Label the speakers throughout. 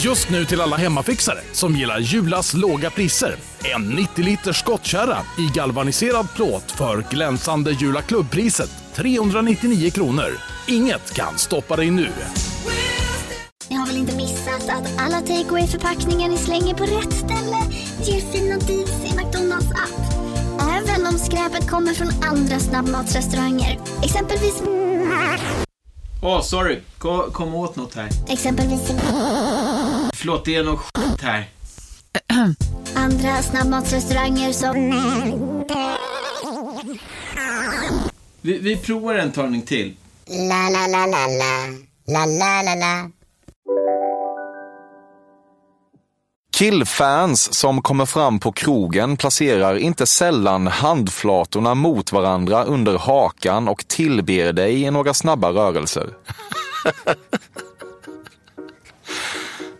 Speaker 1: Just nu till alla hemmafixare som gillar Julas låga priser. En 90-liters skottkärra i galvaniserad plåt för glänsande Jula klubbpriset 399 kronor. Inget kan stoppa dig nu.
Speaker 2: Ni har väl inte missat att alla takeaway förpackningar ni slänger på rätt ställe ger fina deals i McDonalds app. Även om skräpet kommer från andra snabbmatsrestauranger. Exempelvis...
Speaker 3: Åh, sorry. Kom, kom åt något här.
Speaker 2: Exempelvis...
Speaker 3: Förlåt, det är något skit här.
Speaker 2: Andra snabbmatsrestauranger som...
Speaker 3: Vi, vi provar en talning till.
Speaker 4: La la la la la. La la la la.
Speaker 5: Killfans som kommer fram på krogen placerar inte sällan handflatorna mot varandra under hakan och tillber dig i några snabba rörelser.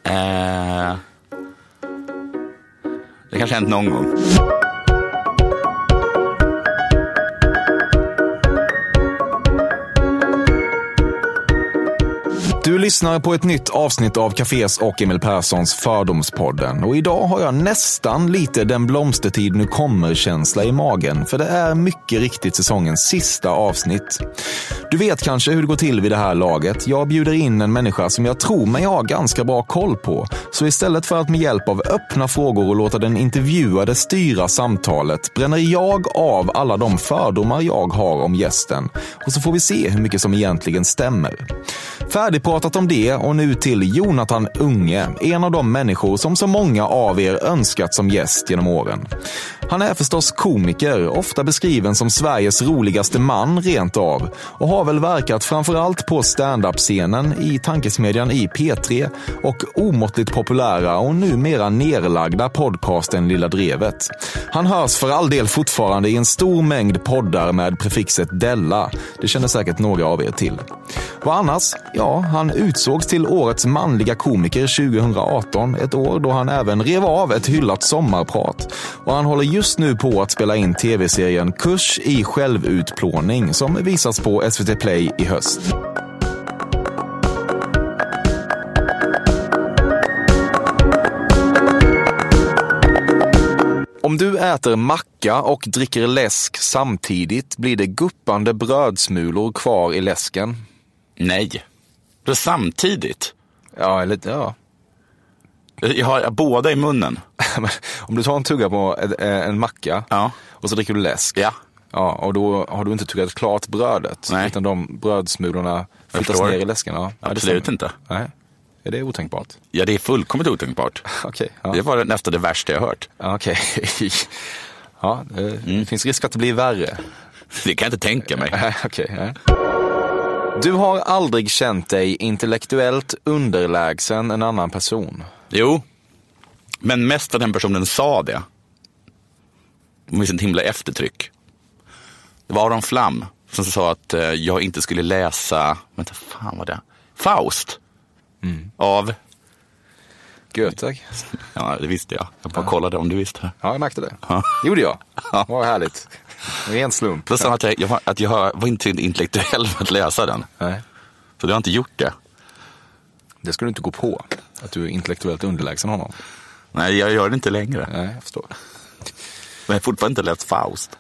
Speaker 6: Eh, det kanske har hänt någon gång.
Speaker 5: Du lyssnar på ett nytt avsnitt av Cafés och Emil Perssons Fördomspodden. Och idag har jag nästan lite den blomstertid nu kommer-känsla i magen. För det är mycket riktigt säsongens sista avsnitt. Du vet kanske hur det går till vid det här laget. Jag bjuder in en människa som jag tror mig ha ganska bra koll på. Så istället för att med hjälp av öppna frågor och låta den intervjuade styra samtalet bränner jag av alla de fördomar jag har om gästen. Och så får vi se hur mycket som egentligen stämmer. Färdigpratat om det och nu till Jonathan Unge, en av de människor som så många av er önskat som gäst genom åren. Han är förstås komiker, ofta beskriven som Sveriges roligaste man rent av och har väl verkat framförallt på stand-up-scenen i tankesmedjan i P3 och omåttligt populära och numera nerlagda podcasten Lilla Drevet. Han hörs för all del fortfarande i en stor mängd poddar med prefixet Della. Det känner säkert några av er till. Vad annars? Ja, han utsågs till årets manliga komiker 2018, ett år då han även rev av ett hyllat sommarprat. Och han håller just nu på att spela in tv-serien Kurs i självutplåning som visas på SVT Play i höst. Om du äter macka och dricker läsk samtidigt blir det guppande brödsmulor kvar i läsken.
Speaker 6: Nej. Det är samtidigt.
Speaker 5: Ja, eller ja.
Speaker 6: Jag har båda i munnen.
Speaker 5: Men Om du tar en tugga på ett- eh, en macka
Speaker 6: Ja.
Speaker 5: och så dricker du läsk.
Speaker 6: Ja.
Speaker 5: Ja, och då har du inte tuggat klart brödet.
Speaker 6: Nej.
Speaker 5: Utan de brödsmulorna flyttas
Speaker 6: förstår.
Speaker 5: ner i läsken. Ja. Ja, det
Speaker 6: Absolut
Speaker 5: stämmer.
Speaker 6: inte.
Speaker 5: Nej, är det är otänkbart.
Speaker 6: Ja, det är fullkomligt otänkbart.
Speaker 5: Okej. ja.
Speaker 6: Det var nästan det värsta jag hört.
Speaker 5: Ja, Okej. ja, det
Speaker 6: Mm.
Speaker 5: det finns risk att det blir värre.
Speaker 6: Det kan jag inte tänka mig.
Speaker 5: Nej, okej. nej. Du har aldrig känt dig intellektuellt underlägsen en annan person.
Speaker 6: Jo, men mest att den personen sa det. Med sitt himla eftertryck. Det var Aron Flam som sa att eh, jag inte skulle läsa, vänta, fan var det? Faust.
Speaker 5: Mm.
Speaker 6: Av,
Speaker 5: Goethe?
Speaker 6: ja det visste jag. Jag bara kollade om du visste.
Speaker 5: Ja, jag märkte det. gjorde jag.
Speaker 6: Ja.
Speaker 5: Vad härligt. Ren slump.
Speaker 6: Då sa han att jag, jag, var- att jag var inte intellektuell för att läsa den.
Speaker 5: Nej,
Speaker 6: Så du har inte gjort det.
Speaker 5: det skulle du inte gå på. Att du är intellektuellt underlägsen honom.
Speaker 6: Nej, jag gör det inte längre.
Speaker 5: Nej, jag förstår.
Speaker 6: Men jag har fortfarande inte läst Faust.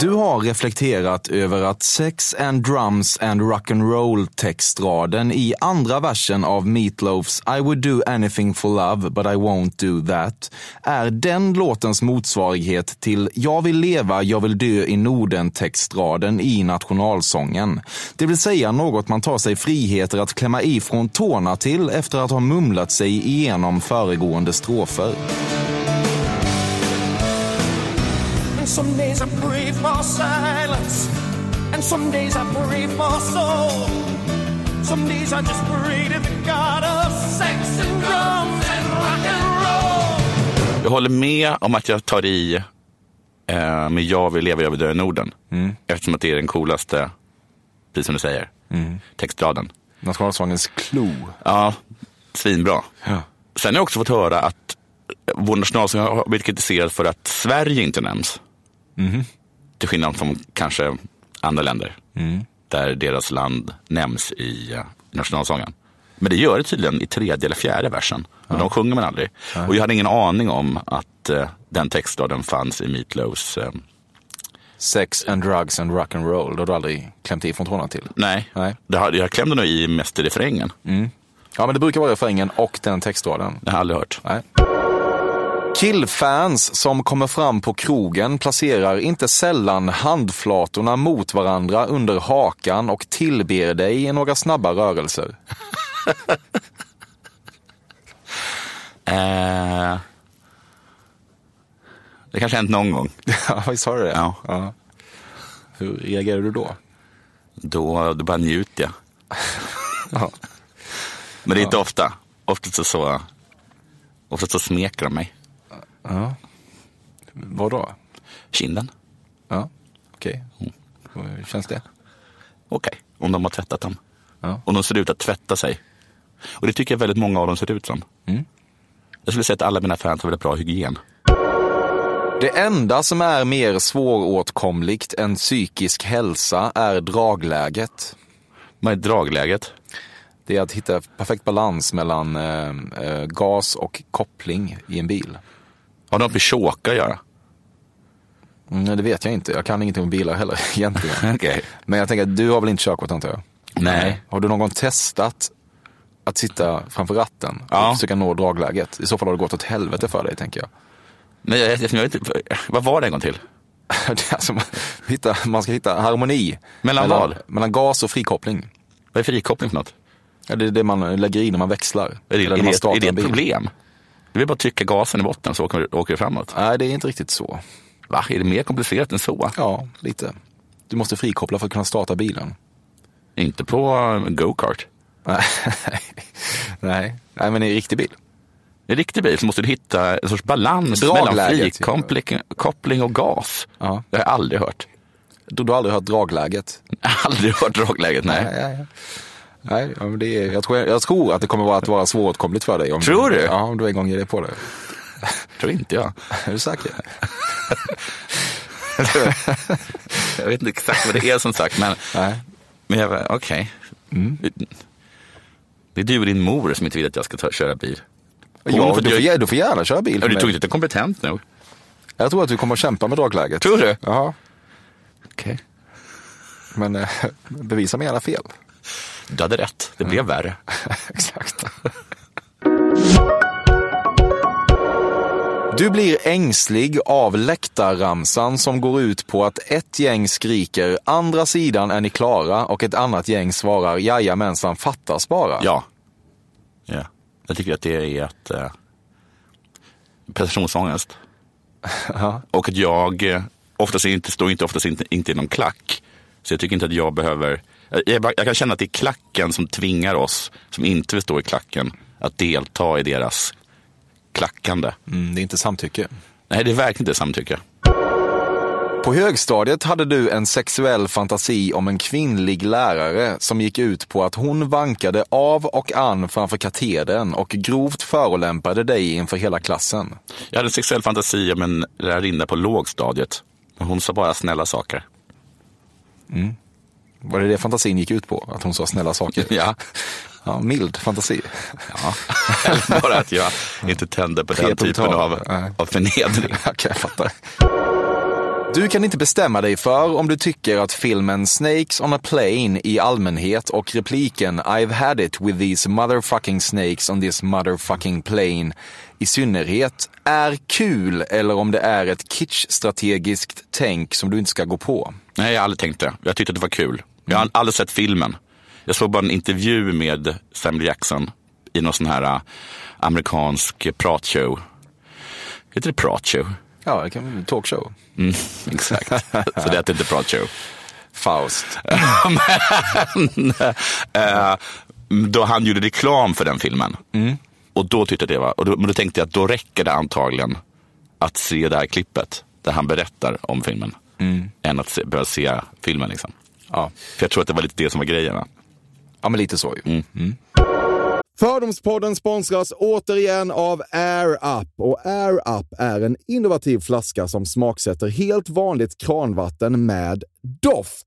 Speaker 5: Du har reflekterat över att Sex and Drums and Rock'n'Roll textraden i andra versen av Meatloafs I would do anything for love but I won't do that är den låtens motsvarighet till Jag vill leva, jag vill dö i Norden textraden i nationalsången. Det vill säga något man tar sig friheter att klämma i från tårna till efter att ha mumlat sig igenom föregående strofer.
Speaker 7: And some days I pray for silence. And some days I pray for soul. Some days I just pray to the God of sex and drums and rock and roll.
Speaker 6: Jag håller med om att jag tar i eh, med Jag vill leva, jag vill dö i Norden. Eftersom att det är den coolaste, precis som du säger, textraden.
Speaker 5: Nationalsångens clou.
Speaker 6: Ja, svinbra.
Speaker 5: Ja.
Speaker 6: Sen har jag också fått höra att vår nationalsång har blivit kritiserad för att Sverige inte nämns.
Speaker 5: Mhm.
Speaker 6: Till skillnad från kanske
Speaker 5: Mm.
Speaker 6: andra länder. Där deras land nämns i eh, nationalsången. Men det gör det tydligen i tredje eller fjärde versen. Men de sjunger man aldrig. Och jag hade ingen aning om att eh, den textraden fanns i Meat Loafs, eh,
Speaker 5: Sex and drugs and rock and roll. Då har du aldrig klämt i från tårna till.
Speaker 6: Nej,
Speaker 5: Nej.
Speaker 6: Det har, jag klämde nog i mest i refrängen.
Speaker 5: Ja, men det brukar vara refrängen och den textraden.
Speaker 6: Det har jag aldrig hört.
Speaker 5: Nej. Killfans som kommer fram på krogen placerar inte sällan handflatorna mot varandra under hakan och tillber dig i några snabba rörelser.
Speaker 6: Eh, det kanske hänt någon gång.
Speaker 5: Ja, visst har du det?
Speaker 6: Ja.
Speaker 5: Hur reagerar du då?
Speaker 6: Då, då bara njuter jag.
Speaker 5: Ja.
Speaker 6: Men det är inte ofta. Oftast så, så, oftast så smeker de mig.
Speaker 5: Vad då?
Speaker 6: Kinden.
Speaker 5: Ja, okej. Hur känns det?
Speaker 6: Okej, om de har tvättat dem.
Speaker 5: Ja.
Speaker 6: Om de ser ut att tvätta sig. Och det tycker jag väldigt många av dem ser ut som.
Speaker 5: Mm.
Speaker 6: Jag skulle säga att alla mina fans har väldigt bra hygien.
Speaker 5: Det enda som är mer svåråtkomligt än psykisk hälsa är dragläget.
Speaker 6: Vad är dragläget?
Speaker 5: Det är att hitta perfekt balans mellan eh, eh, gas och koppling i en bil.
Speaker 6: Har de med choka att göra?
Speaker 5: Mm, det vet jag inte. Jag kan ingenting om bilar heller egentligen.
Speaker 6: Okej.
Speaker 5: Men jag tänker att du har väl inte körkort antar jag?
Speaker 6: Nej.
Speaker 5: Har du någon gång testat att sitta framför ratten och
Speaker 6: Ja.
Speaker 5: försöka nå dragläget? I så fall har det gått åt helvete för dig tänker jag.
Speaker 6: Nej, jag, jag, jag vet inte. Vad var det en gång till?
Speaker 5: Det är alltså, man, hitta, man ska hitta harmoni.
Speaker 6: Mellan
Speaker 5: mellan,
Speaker 6: vad?
Speaker 5: mellan gas och frikoppling.
Speaker 6: Vad är frikoppling för något?
Speaker 5: Ja, det är det man lägger i när man växlar.
Speaker 6: Är det,
Speaker 5: Eller när
Speaker 6: är
Speaker 5: man
Speaker 6: det,
Speaker 5: startar
Speaker 6: är det
Speaker 5: en
Speaker 6: ett
Speaker 5: bil.
Speaker 6: problem? Du vill bara trycka gasen i botten så åker, vi- åker vi framåt.
Speaker 5: Nej, det är inte riktigt så.
Speaker 6: Va? Är det mer komplicerat än så?
Speaker 5: Ja, lite. Du måste frikoppla för att kunna starta bilen.
Speaker 6: Inte på eh, go-kart.
Speaker 5: Nej, nej. nej men i en riktig bil.
Speaker 6: I en riktig bil så måste du hitta en sorts balans
Speaker 5: Dragläget,
Speaker 6: mellan
Speaker 5: ja.
Speaker 6: frikoppling koppling och gas.
Speaker 5: Ja.
Speaker 6: Det har jag aldrig hört.
Speaker 5: Du, du har aldrig hört dragläget?
Speaker 6: Aldrig hört dragläget, nej.
Speaker 5: Nej, nej, nej. nej ja, men det är, jag, tror, jag tror att det kommer vara att vara svåråtkomligt för dig. Om
Speaker 6: Tror du?
Speaker 5: Ja, om du en gång ger dig på det.
Speaker 6: Tror inte jag.
Speaker 5: Är du säker?
Speaker 6: Jag vet inte exakt vad det är som sagt, men,
Speaker 5: Nej.
Speaker 6: men jag- okej.
Speaker 5: Mm.
Speaker 6: Det är du och din mor som inte vill att jag ska ta, köra bil. Hon
Speaker 5: Ja,
Speaker 6: får
Speaker 5: du,
Speaker 6: dö-
Speaker 5: får, gär- du får gärna köra bil.
Speaker 6: Ja,
Speaker 5: för
Speaker 6: Du
Speaker 5: mig.
Speaker 6: tog inte att jag är kompetent nog.
Speaker 5: Jag tror att du kommer att kämpa med dragläget.
Speaker 6: Tror du?
Speaker 5: Ja,
Speaker 6: Okej.
Speaker 5: men eh, bevisa mig gärna fel.
Speaker 6: Du hade rätt, det
Speaker 5: Mm.
Speaker 6: blev värre.
Speaker 5: Exakt. Du blir ängslig av läktarramsan som går ut på att ett gäng skriker andra sidan är ni klara och ett annat gäng svarar jajamensan fattas bara.
Speaker 6: Ja. ja. Jag tycker att det är ett eh, prestationsångest. Och att jag eh, oftast inte, står inte oftast inte, inte i någon klack. Så jag tycker inte att jag behöver... Jag, jag, bara- jag kan känna att det är klacken som tvingar oss som inte vill stå i klacken att delta i deras klackande.
Speaker 5: Mm, det är inte samtycke.
Speaker 6: Nej, det är verkligen inte samtycke.
Speaker 5: På högstadiet hade du en sexuell fantasi om en kvinnlig lärare som gick ut på att hon vankade av och an framför katedern och grovt förolämpade dig inför hela klassen.
Speaker 6: Jag hade en sexuell fantasi om en lärarinna på lågstadiet. Men hon sa bara snälla saker.
Speaker 5: Var det det fantasin gick ut på? Att hon sa snälla saker?
Speaker 6: Ja.
Speaker 5: Ja, mild fantasi.
Speaker 6: Ja. Eller bara att jag inte tände på den typen
Speaker 5: 3.12.
Speaker 6: av,
Speaker 5: Nej.
Speaker 6: av förnedring.
Speaker 5: Okej, jag fattar. Du kan inte bestämma dig för om du tycker att filmen Snakes on a Plane i allmänhet och repliken I've had it with these motherfucking snakes on this motherfucking plane i synnerhet är kul eller om det är ett kitsch-strategiskt tänk som du inte ska gå på.
Speaker 6: Nej, jag har aldrig tänkt det. Jag tyckte att det var kul. Jag har aldrig sett filmen. Jag såg bara en intervju med Samuel Jackson i någon sån här eh, amerikansk pratshow. Heter det pratshow?
Speaker 5: Ja, det kan vara en talkshow.
Speaker 6: Mm, exakt. Så det hette inte pratshow.
Speaker 5: Faust.
Speaker 6: Men, eh, då han gjorde reklam för den filmen. Och då tyckte jag det var, och då, men då tänkte jag att då räcker det antagligen att se det här klippet där han berättar om filmen. Än att se, börja se filmen liksom.
Speaker 5: Ja.
Speaker 6: För jag tror att det var lite det som var grejen. va? Mm.
Speaker 5: ja, men lite så ju.
Speaker 8: Fördomspodden sponsras återigen av Air Up. Och Air Up är en innovativ flaska som smaksätter helt vanligt kranvatten med doft.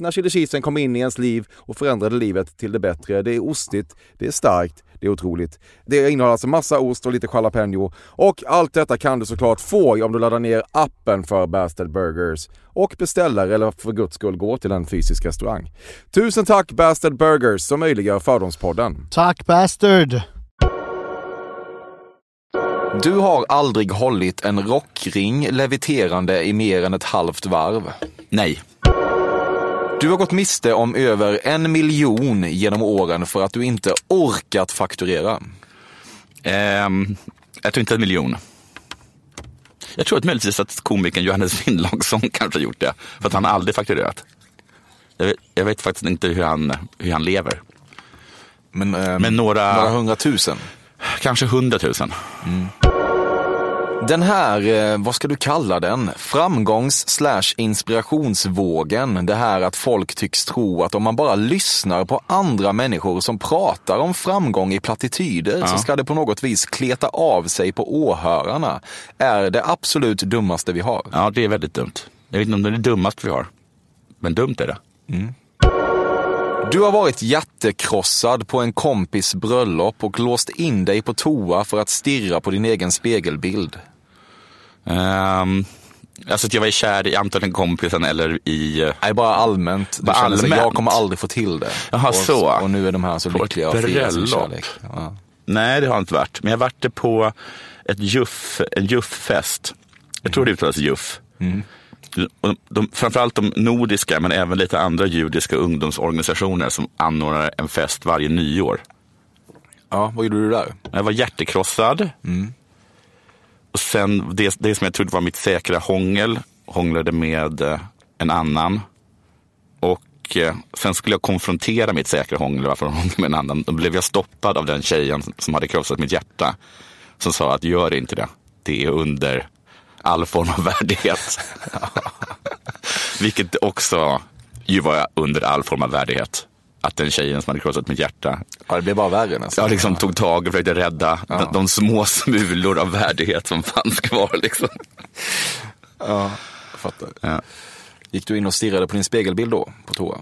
Speaker 8: när chili cheesen kom in i ens liv och förändrade livet till det bättre. Det är ostigt, det är starkt, det är otroligt. Det innehåller alltså massa ost och lite jalapeno. Och allt detta kan du såklart få om du laddar ner appen för Bastard Burgers och beställer eller för guds skull går till en fysisk restaurang. Tusen tack Bastard Burgers som möjliggör Fördomspodden.
Speaker 9: Tack bastard!
Speaker 5: Du har aldrig hållit en rockring leviterande i mer än ett halvt varv.
Speaker 6: Nej.
Speaker 5: Du har gått miste om över en miljon genom åren för att du inte orkat fakturera.
Speaker 6: Ehm, jag tror inte en miljon. Jag tror att möjligtvis att komikern Johannes Finnlaugsson kanske gjort det. För att han har aldrig fakturerat. Jag vet, jag vet faktiskt inte hur han, hur han lever.
Speaker 5: Men, eh,
Speaker 6: Men några-
Speaker 5: några hundratusen.
Speaker 6: Kanske hundratusen.
Speaker 5: Den här, eh, vad ska du kalla den? Framgångs slash inspirationsvågen. Det här att folk tycks tro att om man bara lyssnar på andra människor som pratar om framgång i plattityder så ska det på något vis kleta av sig på åhörarna. Är det absolut dummaste vi har.
Speaker 6: Ja, det är väldigt dumt. Jag vet inte om det är det dummaste vi har. Men dumt är det.
Speaker 5: Du har varit hjärtekrossad på en kompis bröllop och låst in dig på toa för att stirra på din egen spegelbild.
Speaker 6: Ehm, alltså att jag var kär i antingen kompisen eller i... eh,
Speaker 5: Nej, bara allmänt. Du
Speaker 6: Bara
Speaker 5: känner sig,
Speaker 6: allmänt?
Speaker 5: jag kommer aldrig få till det.
Speaker 6: Jaha,
Speaker 5: och,
Speaker 6: så.
Speaker 5: Och nu är de här så
Speaker 6: På ett
Speaker 5: lyckliga och fria i sin
Speaker 6: bröllop.
Speaker 5: kärlek. Ja.
Speaker 6: Nej, det har jag inte varit. Men jag har varit det på ett juff, en juff-fest. Jag tror det uttalas juff. Och de, de, framförallt de nordiska, men även lite andra judiska ungdomsorganisationer som anordnar en fest varje nyår.
Speaker 5: ja, vad gjorde du där?
Speaker 6: Jag var hjärtekrossad. Och sen det, det som jag trodde var mitt säkra hångel, hånglade med eh, en annan. Och eh, sen skulle jag konfrontera mitt säkra hångel, varför hon hånglade med en annan. Då blev jag stoppad av den tjejen som hade krossat mitt hjärta. Som sa att gör inte det, det är under all form av värdighet. Vilket också ju var under all form av värdighet. Att den tjejen som hade krossat mitt hjärta
Speaker 5: Ja, det blev bara värre nästan.
Speaker 6: jag liksom tog tag och försökte rädda de, de små smulor av värdighet som fanns kvar. Liksom.
Speaker 5: Jag fattar.
Speaker 6: Ja.
Speaker 5: eh, Gick du in och stirrade på din spegelbild då, på toa?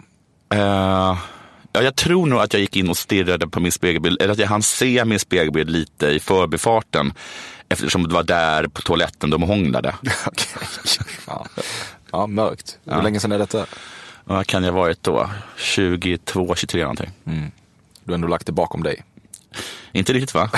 Speaker 6: Eh, ja, jag tror nog att jag gick in och stirrade på min spegelbild, eller att jag hann se min spegelbild lite i förbifarten. Eftersom det var där på toaletten de hånglade.
Speaker 5: Ja, ja mörkt. Hur länge sedan är detta?
Speaker 6: Vad kan jag ha varit då? 22, 23 någonting.
Speaker 5: Du har ändå lagt det bakom dig.
Speaker 6: Inte riktigt va?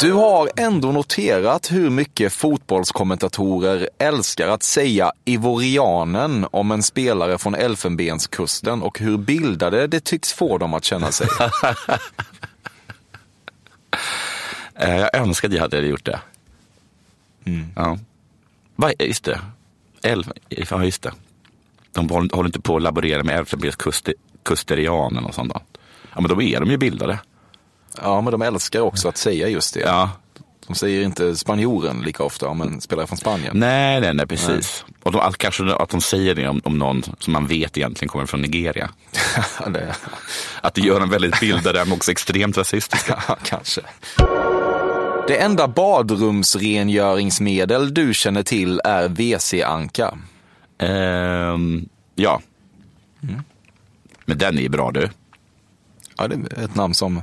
Speaker 5: Du har ändå noterat hur mycket fotbollskommentatorer älskar att säga ivorianen om en spelare från Elfenbenskusten och hur bildade det tycks få dem att känna sig.
Speaker 6: Eh, jag önskar att jag hade gjort det.
Speaker 5: Mm.
Speaker 6: Ja. Va, just det. Elf, ja, just det. De håller håller inte på att laborera med elfenbenskusterianen och sånt. då. Ja, men då är de ju bildade.
Speaker 5: Ja, men de älskar också att säga just det.
Speaker 6: Ja.
Speaker 5: De säger inte spanjoren lika ofta om en spelare från Spanien.
Speaker 6: Nej, nej, nej, precis. Och de, att- kanske att de säger det om, om någon som man vet egentligen kommer från Nigeria.
Speaker 5: det-
Speaker 6: Att det gör dem väldigt bildade, men också extremt rasistiska.
Speaker 5: Ja, kanske. Det enda badrumsrengöringsmedel du känner till är WC-anka.
Speaker 6: Ehm, ja.
Speaker 5: Mm.
Speaker 6: Men den är ju bra du.
Speaker 5: Ja, det är ett namn som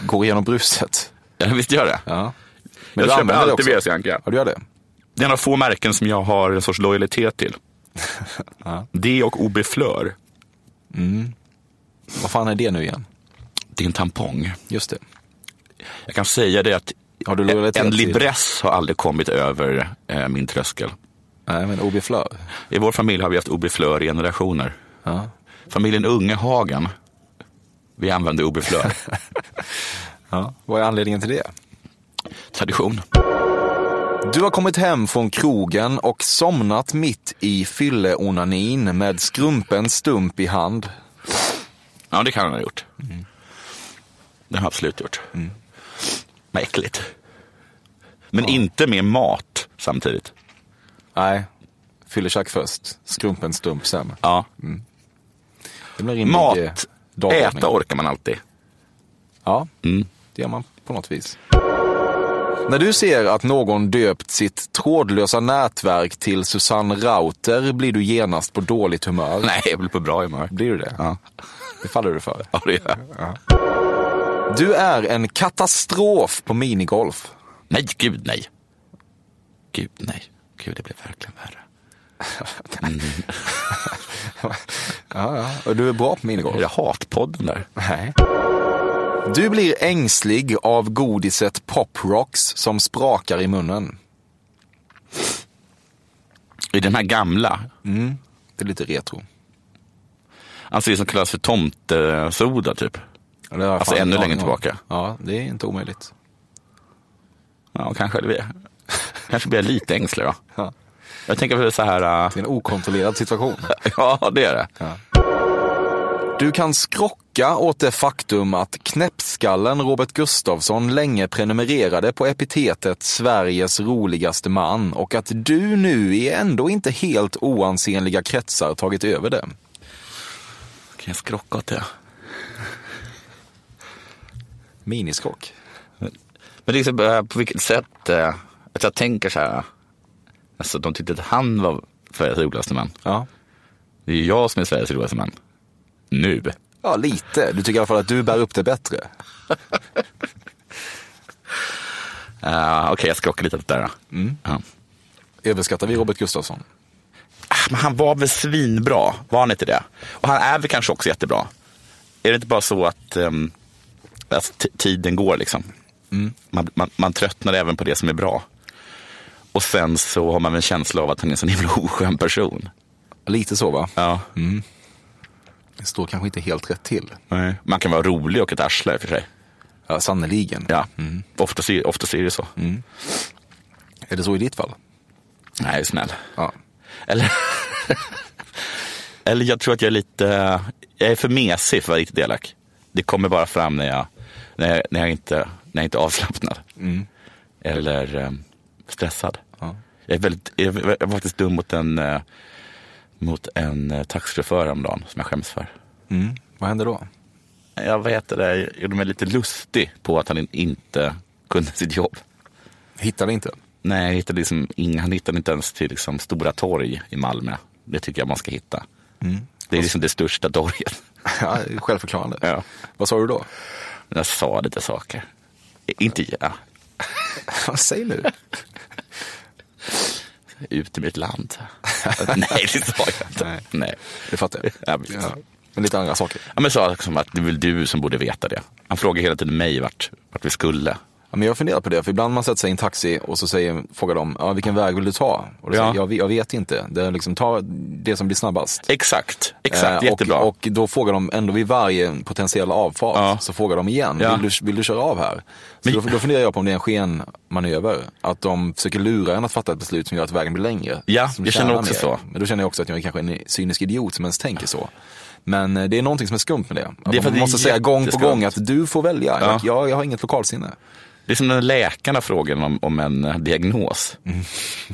Speaker 5: går igenom bruset.
Speaker 6: Ja, visst gör det?
Speaker 5: Ja.
Speaker 6: Jag
Speaker 5: du
Speaker 6: köper
Speaker 5: använder det
Speaker 6: alltid
Speaker 5: också.
Speaker 6: WC-anka.
Speaker 5: Ja, du gör det?
Speaker 6: Det är en av få märken som jag har en sorts lojalitet till. Det och OB Fleur.
Speaker 5: Vad fan är det nu igen?
Speaker 6: Det är en tampong.
Speaker 5: Just det.
Speaker 6: Jag kan säga det att
Speaker 5: Har du lojalitet
Speaker 6: en
Speaker 5: till-
Speaker 6: libress har aldrig kommit över eh, min tröskel.
Speaker 5: Nej, men OB Flör.
Speaker 6: I vår familj har vi haft OB Fleur i generationer.
Speaker 5: Ja.
Speaker 6: Familjen Ungehagen, vi använde OB Fleur.
Speaker 5: Ja. Vad är anledningen till det?
Speaker 6: Tradition.
Speaker 5: Du har kommit hem från krogen och somnat mitt i fylleonanin med skrumpen stump i hand.
Speaker 6: Ja, det kan han ha gjort.
Speaker 5: Mm.
Speaker 6: Det har han absolut gjort. Mm. Men äckligt. Men inte med mat samtidigt.
Speaker 5: Nej, fyllechack först, skrumpen stump sen.
Speaker 6: Ja.
Speaker 5: Mm, Det blir rimlig, eh,
Speaker 6: Mat,
Speaker 5: dagordning.
Speaker 6: äta orkar man alltid.
Speaker 5: Ja,
Speaker 6: Mm.
Speaker 5: det gör man på något vis. När du ser att någon döpt sitt trådlösa nätverk till Susanne Rauter blir du genast på dåligt humör.
Speaker 6: Nej, jag blir på bra humör.
Speaker 5: Blir du det?
Speaker 6: Ja,
Speaker 5: Det faller du för.
Speaker 6: ja det gör jag.
Speaker 5: Du är en katastrof på minigolf.
Speaker 6: Nej, gud nej. Gud nej. Gud, det blev verkligen värre.
Speaker 5: Och du är bra på minigolf.
Speaker 6: Är det hatpodden där?
Speaker 5: Nej. Du blir ängslig av godiset Pop Rocks som sprakar i munnen.
Speaker 6: I den här gamla.
Speaker 5: Det är lite retro.
Speaker 6: Alltså det som kallas för tomtesoda typ.
Speaker 5: Ja, det har jag
Speaker 6: Alltså
Speaker 5: fan
Speaker 6: ännu
Speaker 5: ingen
Speaker 6: längre
Speaker 5: aning om.
Speaker 6: tillbaka.
Speaker 5: Ja, det är inte omöjligt.
Speaker 6: Ja, kanske det blir. Kanske blir jag lite ängslig då.
Speaker 5: Ja.
Speaker 6: Jag tänker för så här...
Speaker 5: Det
Speaker 6: äh,
Speaker 5: är en okontrollerad situation.
Speaker 6: Ja, det är det.
Speaker 5: Du kan skrocka åt det faktum att knäppskallen Robert Gustafsson länge prenumererade på epitetet Sveriges roligaste man och att du nu i ändå inte helt oansenliga kretsar tagit över det.
Speaker 6: Kan jag skrocka åt det?
Speaker 5: Miniskrock.
Speaker 6: Men liksom, eh, på vilket sätt? eh, Att jag tänker så här. Alltså de tyckte att han var Sveriges roligaste man.
Speaker 5: Ja.
Speaker 6: Det är ju jag som är Sveriges roligaste man. Nu.
Speaker 5: ja, lite. Du tycker i alla fall att du bär upp det bättre.
Speaker 6: Eh, Okej, jag skrockar lite åt det där. då. Ja.
Speaker 5: Överskattar vi Robert Gustafsson?
Speaker 6: Ah, Men han var väl svinbra? Var han inte det? Och han är väl kanske också jättebra? Är det inte bara så att, ehm, att t- tiden går liksom? Man, man, man tröttnar även på det som är bra. Och sen så har man väl en känsla av att han är en sån himla oskön person.
Speaker 5: Lite så va?
Speaker 6: Ja.
Speaker 5: Det står kanske inte helt rätt till.
Speaker 6: Nej. Man kan vara rolig och ett arsle i och för sig.
Speaker 5: Ja, sannerligen. Mm.
Speaker 6: Ja. Oftast, är, oftast är det så.
Speaker 5: Är det så i ditt fall?
Speaker 6: Nej, snäll.
Speaker 5: Ja.
Speaker 6: Eller, eller jag tror att jag är lite, jag är för mesig för att vara riktigt elak. Det kommer bara fram när jag, när jag, när jag, inte, när jag inte är avslappnad. Eller eh, stressad.
Speaker 5: Ja.
Speaker 6: Jag, är väldigt, jag var- jag var faktiskt dum mot en, eh, mot en eh, taxichaufför häromdagen som jag skäms för.
Speaker 5: Mm. Vad händer då?
Speaker 6: Jag vet det, jag gjorde mig lite lustig på att han in- inte kunde sitt jobb.
Speaker 5: Hittade inte?
Speaker 6: Nej, jag hittade liksom inga, han hittade inte ens till liksom Stora torg i Malmö. Det tycker jag man ska hitta.
Speaker 5: Mm.
Speaker 6: Det är liksom det största torget.
Speaker 5: Ja, det är självförklarande.
Speaker 6: Ja.
Speaker 5: Vad sa du då?
Speaker 6: Jag sa lite saker. I- Inte ja,
Speaker 5: Säg nu.
Speaker 6: ut i mitt land. Nej, det sa jag inte.
Speaker 5: Nej.
Speaker 6: Nej.
Speaker 5: Det fattar jag.
Speaker 6: Ja, visst.
Speaker 5: Men lite andra saker.
Speaker 6: Ja, men sa liksom att det är väl du som borde veta det. Han frågar hela tiden mig vart, vart vi skulle.
Speaker 5: Ja, men jag funderar på det, för ibland man sätter sig i en taxi och så säger, frågar de ja, vilken väg vill du ta? Och då
Speaker 6: Ja.
Speaker 5: säger jag, "Jag vet- jag vet inte. Det är liksom, ta det som blir snabbast.
Speaker 6: Exakt, exakt.
Speaker 5: Eh,
Speaker 6: jättebra.
Speaker 5: Och, och då frågar de ändå vid varje potentiell avfart,
Speaker 6: Ja.
Speaker 5: så frågar de igen,
Speaker 6: Ja.
Speaker 5: vill, du, vill du köra av här? Så
Speaker 6: Men-
Speaker 5: då, då funderar jag på om det är en skenmanöver, att de försöker lura en att fatta ett beslut som gör att vägen blir längre.
Speaker 6: Ja,
Speaker 5: som
Speaker 6: jag känner
Speaker 5: tjänar
Speaker 6: också
Speaker 5: mer.
Speaker 6: så.
Speaker 5: Men då känner jag också att jag är kanske en cynisk idiot som ens tänker så. Men eh, det är någonting som är skumt med det. Att
Speaker 6: Det är för
Speaker 5: man
Speaker 6: att det är
Speaker 5: måste säga gång på
Speaker 6: jätteskumt.
Speaker 5: gång att du får välja.
Speaker 6: Ja.
Speaker 5: Jag, jag har inget lokalsinne.
Speaker 6: Det är som när läkarna frågar om, om en eh, diagnos.
Speaker 5: Mm.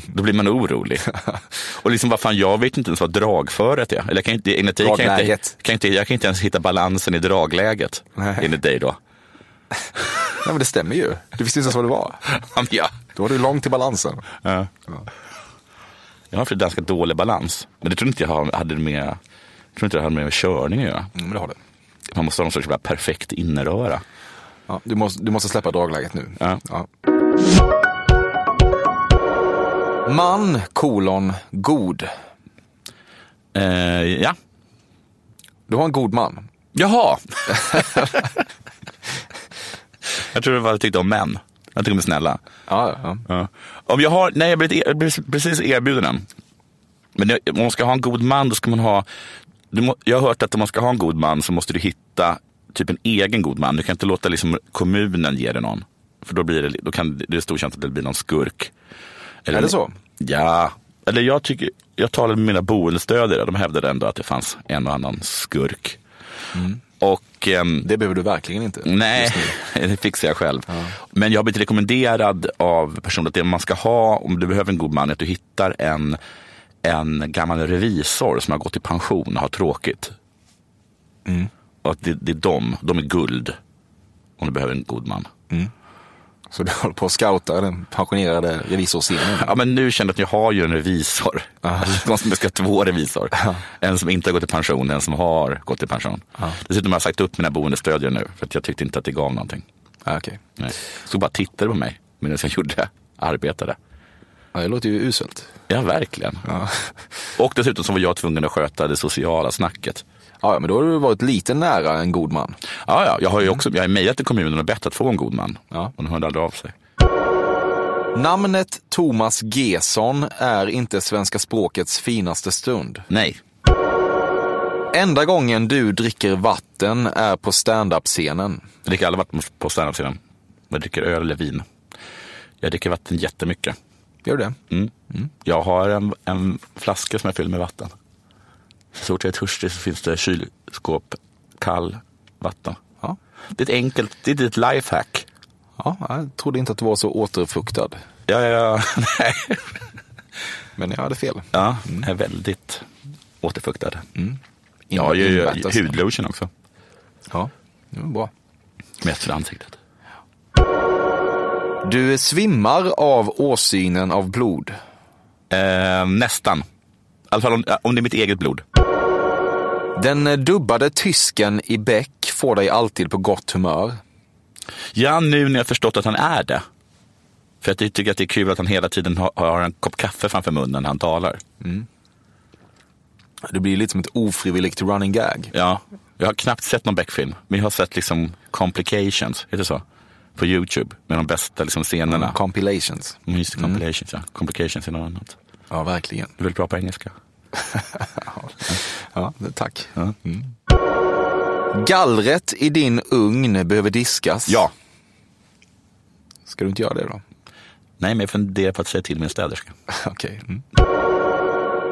Speaker 6: Då blir man orolig. Och liksom, vad fan, jag vet inte ens vad dragföret är. Eller jag kan inte, enligt dig kan jag, inte,
Speaker 5: Dragläget.
Speaker 6: kan jag inte, jag kan inte ens hitta balansen i dragläget.
Speaker 5: Nej.
Speaker 6: Enligt dig då.
Speaker 5: Nej, men det stämmer ju. Du visste inte ens vad det var.
Speaker 6: Ja, men jag-
Speaker 5: Då var du långt till balansen. Mm,
Speaker 6: Ja. Jag har för ganska dålig balans. Men det tror inte jag har- hade med, jag tror inte det hade med körning att göra.
Speaker 5: Mm, men det har du.
Speaker 6: Man måste ha någon sorts jävla perfekt inneröra.
Speaker 5: Ja, du, måste, du måste släppa dragläget nu.
Speaker 6: Ja.
Speaker 5: Man, kolon, god.
Speaker 6: Eh, ja.
Speaker 5: Du har en god man.
Speaker 6: Jaha! jag tror det var jag tyckte om män. Jag tycker de är snälla.
Speaker 5: Ja, ja.
Speaker 6: Ja. Om jag har, nej, jag blev ett- jag blev precis erbjuden en. Men det- om man ska ha en god man, då ska man ha... Du må, jag har hört att om man ska ha en god man så måste du hitta typ en egen god man. Du kan inte låta liksom kommunen ge dig någon. För då, blir det, då kan det är stor chans att det blir någon skurk.
Speaker 5: Är det så?
Speaker 6: Ja, eller jag tycker, jag talade med mina boendestödjare, de hävdade ändå att det fanns en och annan skurk.
Speaker 5: Mm.
Speaker 6: Och ehm,
Speaker 5: Det behöver du verkligen inte.
Speaker 6: Nej, det fixar jag själv. Men jag har blivit rekommenderad av personer att det man ska ha om du behöver en god man är att du hittar en, en gammal revisor som har gått i pension och har tråkigt. Och att det, det är de, de är guld om du behöver en god man.
Speaker 5: Så du håller på att scouta den pensionerade revisorsscenen.
Speaker 6: Ja, men nu känner jag att jag har ju en revisor. Alltså, Någon som jag ska ha två revisor. En som inte har gått i pension, en som har gått i pension. Dessutom har jag sagt upp mina boendestödjare nu för att jag tyckte inte att det gav någonting.
Speaker 5: Ja, okej.
Speaker 6: Nej. Så bara tittade på mig medan jag gjorde, arbetade.
Speaker 5: Ja, det låter ju uselt.
Speaker 6: Ja, verkligen.
Speaker 5: Ja.
Speaker 6: Och dessutom så var jag tvungen att sköta det sociala snacket.
Speaker 5: Ja, ja, men då har du varit lite nära en god man.
Speaker 6: Ja, ja, jag har ju också, jag har mejlat till kommunen och bett att få en god man.
Speaker 5: Mm. Ja.
Speaker 6: Och de hörde aldrig av sig.
Speaker 5: Namnet Thomas Gesson är inte svenska språkets finaste stund.
Speaker 6: Nej,
Speaker 5: Enda gången du dricker vatten är på standup-scenen.
Speaker 6: jag dricker aldrig vatten på standup-sidan. Jag dricker öl eller vin. Jag dricker vatten jättemycket.
Speaker 5: Gör du det?
Speaker 6: Mm. Jag har en, en flaska som jag fyller med vatten. Så fort jag är törstig så finns det kylskåp, kall vatten.
Speaker 5: Ja.
Speaker 6: Det är ett enkelt, det är ett lifehack.
Speaker 5: ja. Jag trodde inte att du var så återfuktad.
Speaker 6: Ja, ja, ja. Nej.
Speaker 5: Men jag hade fel.
Speaker 6: Ja, är väldigt återfuktad. Jag
Speaker 5: Inbä-
Speaker 6: har Mm. ju
Speaker 5: inbäddat.
Speaker 6: hudlotion också.
Speaker 5: Ja, det var bra.
Speaker 6: Mest för ansiktet.
Speaker 5: Du svimmar av åsynen av blod.
Speaker 6: Eh, nästan. I alla fall om, om det är mitt eget blod.
Speaker 5: Den eh, dubbade tysken i Beck får dig alltid på gott humör.
Speaker 6: Ja, nu när jag förstått att han är det. För att jag tycker att det är kul att han hela tiden har, har en kopp kaffe framför munnen när han talar.
Speaker 5: Det blir lite som ett ofrivilligt running gag.
Speaker 6: Ja, jag har knappt sett någon Beck-film. Men jag har sett liksom complications, heter det så? På YouTube med de bästa liksom, scenerna.
Speaker 5: Compilations.
Speaker 6: Mm, just det, compilations, ja. Complications är något annat.
Speaker 5: Ja, verkligen.
Speaker 6: Du är väldigt bra på engelska.
Speaker 5: Ja, tack. Mm.
Speaker 6: Ja.
Speaker 5: Gallret i din ugn behöver diskas.
Speaker 6: ja.
Speaker 5: Ska du inte göra det då?
Speaker 6: Nej, men jag funderar på att säga till min städerska.
Speaker 5: Okej. Mm.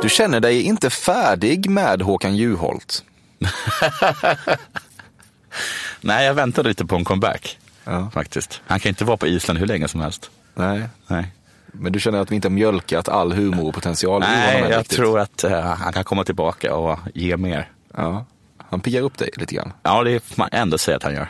Speaker 5: Du känner dig inte färdig med Håkan Juholt.
Speaker 6: Nej, jag väntade lite på en comeback.
Speaker 5: Ja.
Speaker 6: Faktiskt. Han kan inte vara på Island hur länge som helst.
Speaker 5: Nej.
Speaker 6: Nej,
Speaker 5: Men du känner att vi inte har mjölkat all humor och potential ur
Speaker 6: Nej
Speaker 5: honom än
Speaker 6: jag
Speaker 5: riktigt.
Speaker 6: tror att eh, han kan komma tillbaka och ge mer.
Speaker 5: Ja. Han piggar upp dig lite grann.
Speaker 6: Ja, det får man ändå säga att han gör.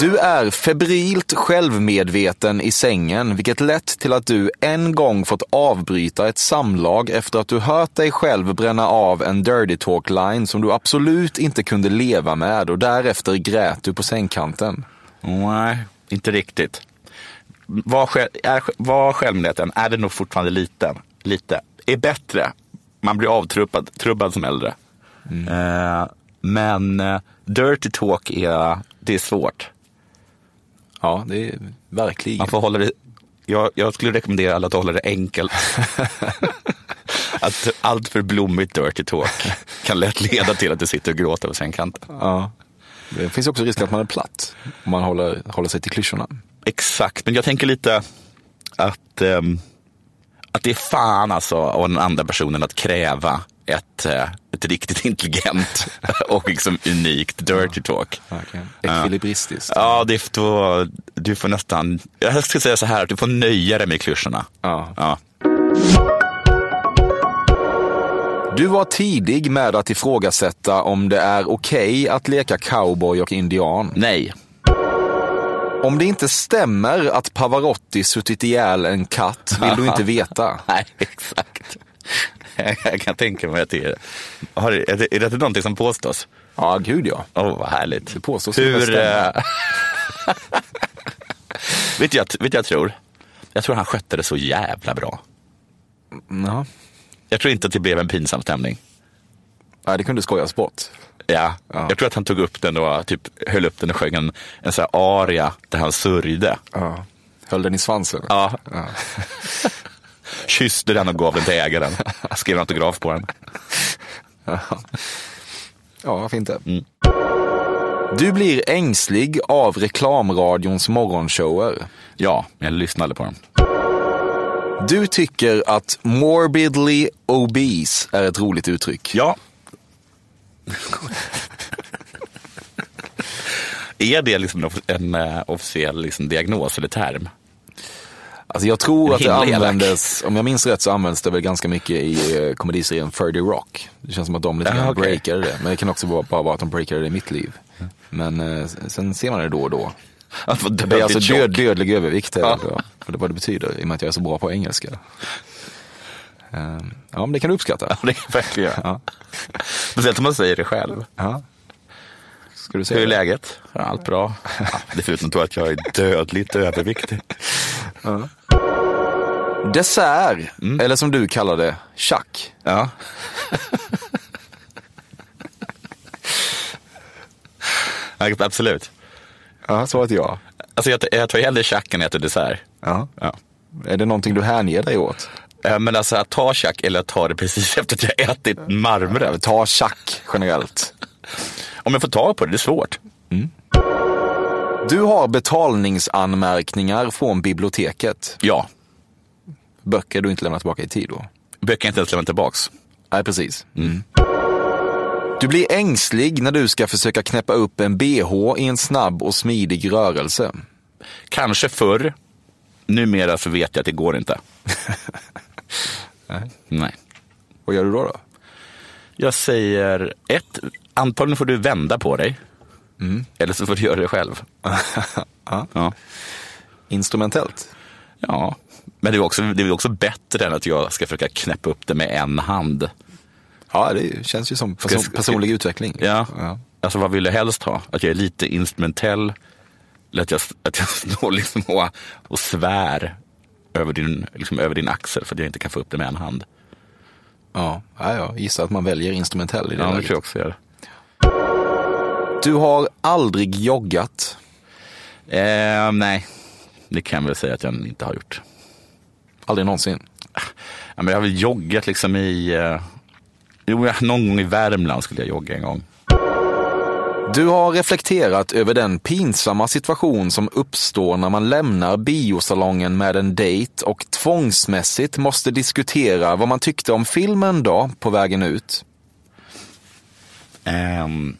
Speaker 5: Du är febrilt självmedveten i sängen, vilket lett till att du en gång fått avbryta ett samlag efter att du hört dig själv bränna av en dirty talk line som du absolut inte kunde leva med och därefter grät du på sängkanten.
Speaker 6: Nej, inte riktigt. Var, själv, är, var självmedveten är det nog fortfarande liten. Lite. Är bättre. Man blir avtrubbad trubbad som äldre.
Speaker 5: Mm.
Speaker 6: Eh, men eh, dirty talk är, det är svårt.
Speaker 5: Ja, det är verkligen.
Speaker 6: Man får hålla det, jag, jag skulle rekommendera alla att hålla det enkelt. att allt för blommigt dirty talk kan lätt leda till att du sitter och gråter på sängkanten.
Speaker 5: Ja. Det finns också risk att man är platt om man håller, håller sig till klyschorna.
Speaker 6: Exakt, men jag tänker lite att, ehm, att det är fan alltså av den andra personen att kräva ett, eh, ett riktigt intelligent och liksom unikt dirty talk.
Speaker 5: Ekvilibristiskt.
Speaker 6: Ja, det är då, du får nästan, jag skulle säga så här, att du får nöja dig med klyschorna.
Speaker 5: Ja.
Speaker 6: Ja.
Speaker 5: Du var tidig med att ifrågasätta om det är okej att leka cowboy och indian.
Speaker 6: Nej,
Speaker 5: Om det inte stämmer att Pavarotti suttit ihjäl en katt vill du inte veta.
Speaker 6: Nej, exakt. Jag kan tänka mig att det är... Har, är det, är det någonting som påstås?
Speaker 5: Ja, gud ja.
Speaker 6: Åh, vad härligt.
Speaker 5: Det påstås inte
Speaker 6: Hur...
Speaker 5: stämma.
Speaker 6: eh, vet du jag, vet jag tror? Jag tror han skötte det så jävla bra.
Speaker 5: Jaha.
Speaker 6: Jag tror inte att det blev en pinsam stämning.
Speaker 5: Nej, det kunde skojas bort.
Speaker 6: Ja.
Speaker 5: Ja.
Speaker 6: Jag tror att han tog upp den och typ höll upp den och sjöng en, en sån här aria där han sörjde.
Speaker 5: Ja. Höll den i svansen?
Speaker 6: Ja. Kysste den och gav den till ägaren. Skrev en autograf på den.
Speaker 5: Ja, varför inte?
Speaker 6: Mm.
Speaker 5: Du blir ängslig av reklamradions morgonshower.
Speaker 6: Ja, men jag lyssnade på den.
Speaker 5: Du tycker att morbidly obese är ett roligt uttryck.
Speaker 6: Ja. är det liksom en, off- en eh, officiell liksom, diagnos eller term?
Speaker 5: Alltså jag tror
Speaker 6: En
Speaker 5: att det
Speaker 6: himla elak.
Speaker 5: användes, om jag minns rätt så användes det väl ganska mycket i eh, komediserien 30 Rock. Det känns som att de lite
Speaker 6: Ah,
Speaker 5: grann
Speaker 6: okej.
Speaker 5: breakade det. Men det kan också vara- bara vara att de breakade det i mitt liv. Men eh, sen ser man det då och då.
Speaker 6: Att vara
Speaker 5: Det är alltså
Speaker 6: tjock.
Speaker 5: död, dödlig övervikt. Är
Speaker 6: Ja.
Speaker 5: ja. det, är vad det betyder, i och med att jag är så bra på engelska. Ehm, ja, men det kan du uppskatta.
Speaker 6: Det är verkligen.
Speaker 5: Ja.
Speaker 6: Speciellt om man säger det själv.
Speaker 5: Ja. Ska du
Speaker 6: Hur
Speaker 5: säga
Speaker 6: är
Speaker 5: det?
Speaker 6: läget? Ja, Allt bra? Ja, Det är förutom då att jag är dödligt överviktig.
Speaker 5: Dessert,
Speaker 6: Mm.
Speaker 5: eller som du kallar det, chack.
Speaker 6: Ja. Ja, Absolut.
Speaker 5: Ja, svaret är ja.
Speaker 6: Alltså jag, jag tar hellre tjack än äter dessert.
Speaker 5: ja.
Speaker 6: Ja.
Speaker 5: Är det någonting du hänger dig åt?
Speaker 6: Eh, Men alltså att ta tjack eller att ta det precis efter att jag ätit marmre.
Speaker 5: Ta chack generellt.
Speaker 6: Om jag får tag på det, det är svårt.
Speaker 5: Du har betalningsanmärkningar från biblioteket.
Speaker 6: Ja,
Speaker 5: Böcker du inte lämnat tillbaka i tid då?
Speaker 6: böcker jag inte ens lämnar tillbaks.
Speaker 5: Nej, precis. Mm. Du blir ängslig när du ska försöka knäppa upp en bh i en snabb och smidig rörelse.
Speaker 6: Kanske förr. Numera så vet jag att det går inte. Nej.
Speaker 5: Vad gör du då? då?
Speaker 6: Jag säger ett, antagligen får du vända på dig. Eller så får du göra det själv. Mm. ja.
Speaker 5: Instrumentellt?
Speaker 6: ja. Men det är, också, det är också bättre än att jag ska försöka knäppa upp det med en hand.
Speaker 5: Ja, det känns ju som person,
Speaker 6: ska-
Speaker 5: personlig utveckling.
Speaker 6: Alltså, Ja.
Speaker 5: ja.
Speaker 6: Alltså vad vill jag helst ha? Att jag är lite instrumentell? Eller att jag, att jag står liksom och, och svär över din, liksom över din axel för att jag inte kan få upp det med en hand?
Speaker 5: Ja, ja, jag gissar att man väljer instrumentell i det
Speaker 6: Ja, det
Speaker 5: läget.
Speaker 6: tror jag också jag gör.
Speaker 5: Du har aldrig joggat.
Speaker 6: Eh, nej, det kan jag väl säga att jag inte har gjort.
Speaker 5: Aldrig någonsin.
Speaker 6: Ja, men jag har väl joggat liksom i... Eh, jo, jag- någon gång i Värmland skulle jag jogga en gång.
Speaker 5: Du har reflekterat över den pinsamma situation som uppstår när man lämnar biosalongen med en dejt och tvångsmässigt måste diskutera vad man tyckte om filmen då på vägen ut.
Speaker 6: Ehm,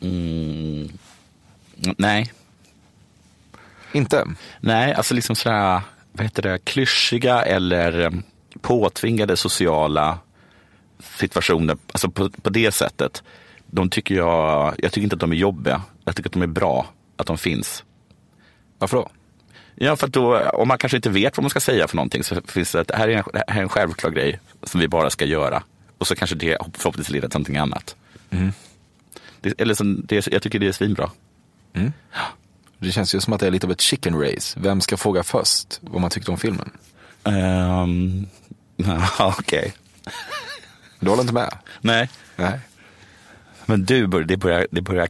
Speaker 6: mm, nej,
Speaker 5: Inte?
Speaker 6: nej, alltså liksom sådär, vad heter det, klyschiga eller eh, påtvingade sociala situationer, alltså på, på det sättet. De tycker jag, jag tycker inte att de är jobbiga, jag tycker att de är bra, att de finns.
Speaker 5: Varför då?
Speaker 6: Ja, för att då, om man kanske inte vet vad man ska säga för någonting så finns det att det här är en, det här är en självklar grej som vi bara ska göra. Och så kanske det förhoppningsvis leder till någonting annat. Det, eller så, det, jag tycker det är svinbra.
Speaker 5: Det känns ju som att det är lite av ett chicken race. Vem ska fråga först vad man tyckte om filmen?
Speaker 6: Um, Okej.
Speaker 5: Du håller inte med?
Speaker 6: Nej,
Speaker 5: Nej.
Speaker 6: men du bör, det börjar, det börjar,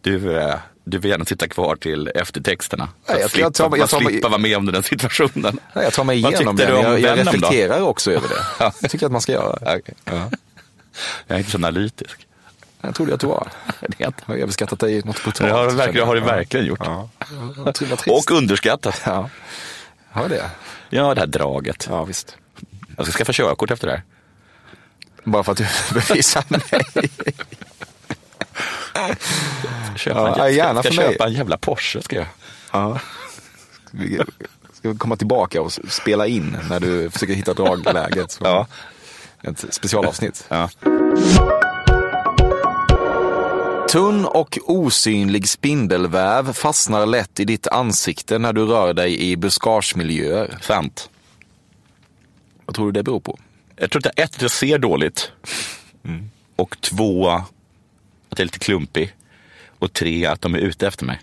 Speaker 6: du, eh, du vill gärna sitta kvar till eftertexterna.
Speaker 5: Nej, jag- jag
Speaker 6: slippa,
Speaker 5: tar- jag
Speaker 6: man
Speaker 5: tar-
Speaker 6: slipper vara med om den situationen.
Speaker 5: Nej, jag tar mig
Speaker 6: Vad
Speaker 5: igenom
Speaker 6: tyckte
Speaker 5: den.
Speaker 6: du om
Speaker 5: Jag, jag
Speaker 6: Venom då?
Speaker 5: reflekterar också över det. Jag tycker att man ska göra.
Speaker 6: Okej. Jag är inte så analytisk.
Speaker 5: Jag trodde att du var.
Speaker 6: Det är jag inte.
Speaker 5: Jag har överskattat dig något brutalt.
Speaker 6: Det har du verkligen, har du
Speaker 5: känner jag.
Speaker 6: verkligen gjort.
Speaker 5: Ja. Vad trist.
Speaker 6: Och underskattat.
Speaker 5: Ja. Har jag det?
Speaker 6: Ja, det här draget.
Speaker 5: Ja, visst.
Speaker 6: Jag ska skaffa körkort efter det här.
Speaker 5: Bara för att du bevisar mig.
Speaker 6: Köpa
Speaker 5: Ja,
Speaker 6: en, jä-
Speaker 5: gärna
Speaker 6: ska
Speaker 5: för mig.
Speaker 6: köpa en jävla Porsche. Ska jag.
Speaker 5: Ja. Vi ska komma tillbaka och spela in när du försöker hitta dragläget. Så.
Speaker 6: Ja.
Speaker 5: Ett specialavsnitt.
Speaker 6: Ja.
Speaker 5: Tunn och osynlig spindelväv fastnar lätt i ditt ansikte när du rör dig i buskagemiljöer.
Speaker 6: Sant.
Speaker 5: Vad tror du det beror på?
Speaker 6: Jag tror att ett, jag ser dåligt. Och två, att jag är lite klumpig. Och tre, att de är ute efter mig.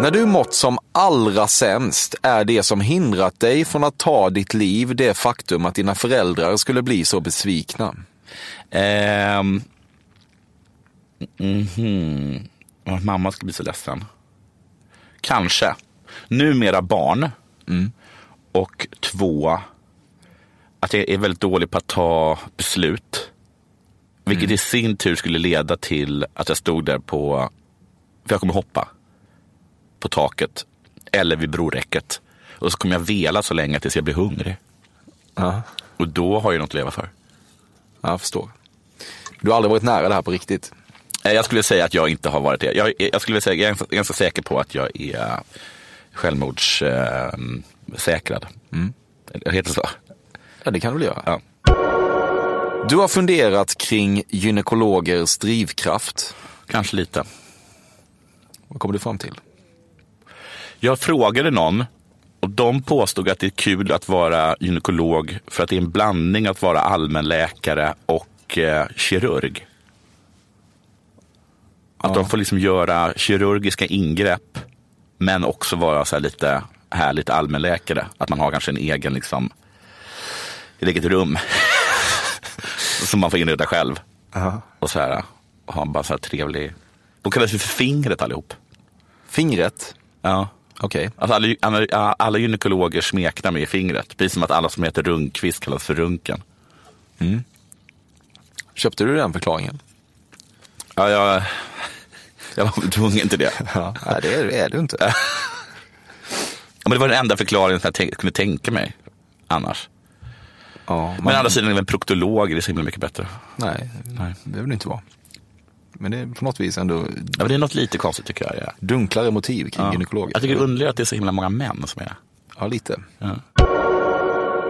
Speaker 5: När du mått som allra sämst är det som hindrat dig från att ta ditt liv det faktum att dina föräldrar skulle bli så besvikna.
Speaker 6: Ehm. Mhm. Och att mamma ska bli så ledsen. Kanske. Numera barn. Och två, att jag är väldigt dålig på att ta beslut. Vilket i sin tur skulle leda till att jag stod där på, för jag kommer hoppa, på taket eller vid broräcket Och så kommer jag vela så länge tills jag blir hungrig.
Speaker 5: Ja,
Speaker 6: Och då har jag något att leva för.
Speaker 5: jag förstår. Du har aldrig varit nära det här på riktigt.
Speaker 6: Eh, Jag skulle säga att jag inte har varit det. Jag, jag skulle säga, jag är ganska, ganska säker på att jag är eh, självmordssäkrad. Mm. Eller Heter det så?
Speaker 5: Ja, det kan du väl göra?
Speaker 6: Ja.
Speaker 5: Du har funderat kring gynekologers drivkraft.
Speaker 6: Kanske lite.
Speaker 5: Vad kommer du fram till?
Speaker 6: Jag frågade någon och de påstod att det är kul att vara gynekolog för att det är en blandning att vara allmänläkare och eh, kirurg. Att de får liksom göra kirurgiska ingrepp men också vara så här lite härligt allmänläkare. Att man har kanske en egen, liksom, ett eget rum som man får inreda själv. Och så här, och ha bara så här trevlig... De kallas ju för fingret allihop.
Speaker 5: Fingret?
Speaker 6: Ja.
Speaker 5: Okej.
Speaker 6: Alltså alla, alla, alla gynekologer smeknar med fingret, precis som att alla som heter Rundqvist kallas för Runken.
Speaker 5: Köpte du den förklaringen?
Speaker 6: Ja, jag, jag var tvungen till det.
Speaker 5: Ja, nej, det är, är du inte.
Speaker 6: Ja, Men det var den enda förklaringen som jag tänk, kunde tänka mig annars.
Speaker 5: Ja,
Speaker 6: Men å andra sidan är en proktolog det är så himla mycket bättre.
Speaker 5: nej, nej, det vill det inte vara. Men det är på något vis ändå
Speaker 6: Ja, men det är något lite konstigt tycker jag. Ja.
Speaker 5: dunklare motiv kring
Speaker 6: Ja.
Speaker 5: gynekologer.
Speaker 6: Jag tycker det är underligt att det är så himla många män som är det.
Speaker 5: Ja, lite.
Speaker 6: Ja.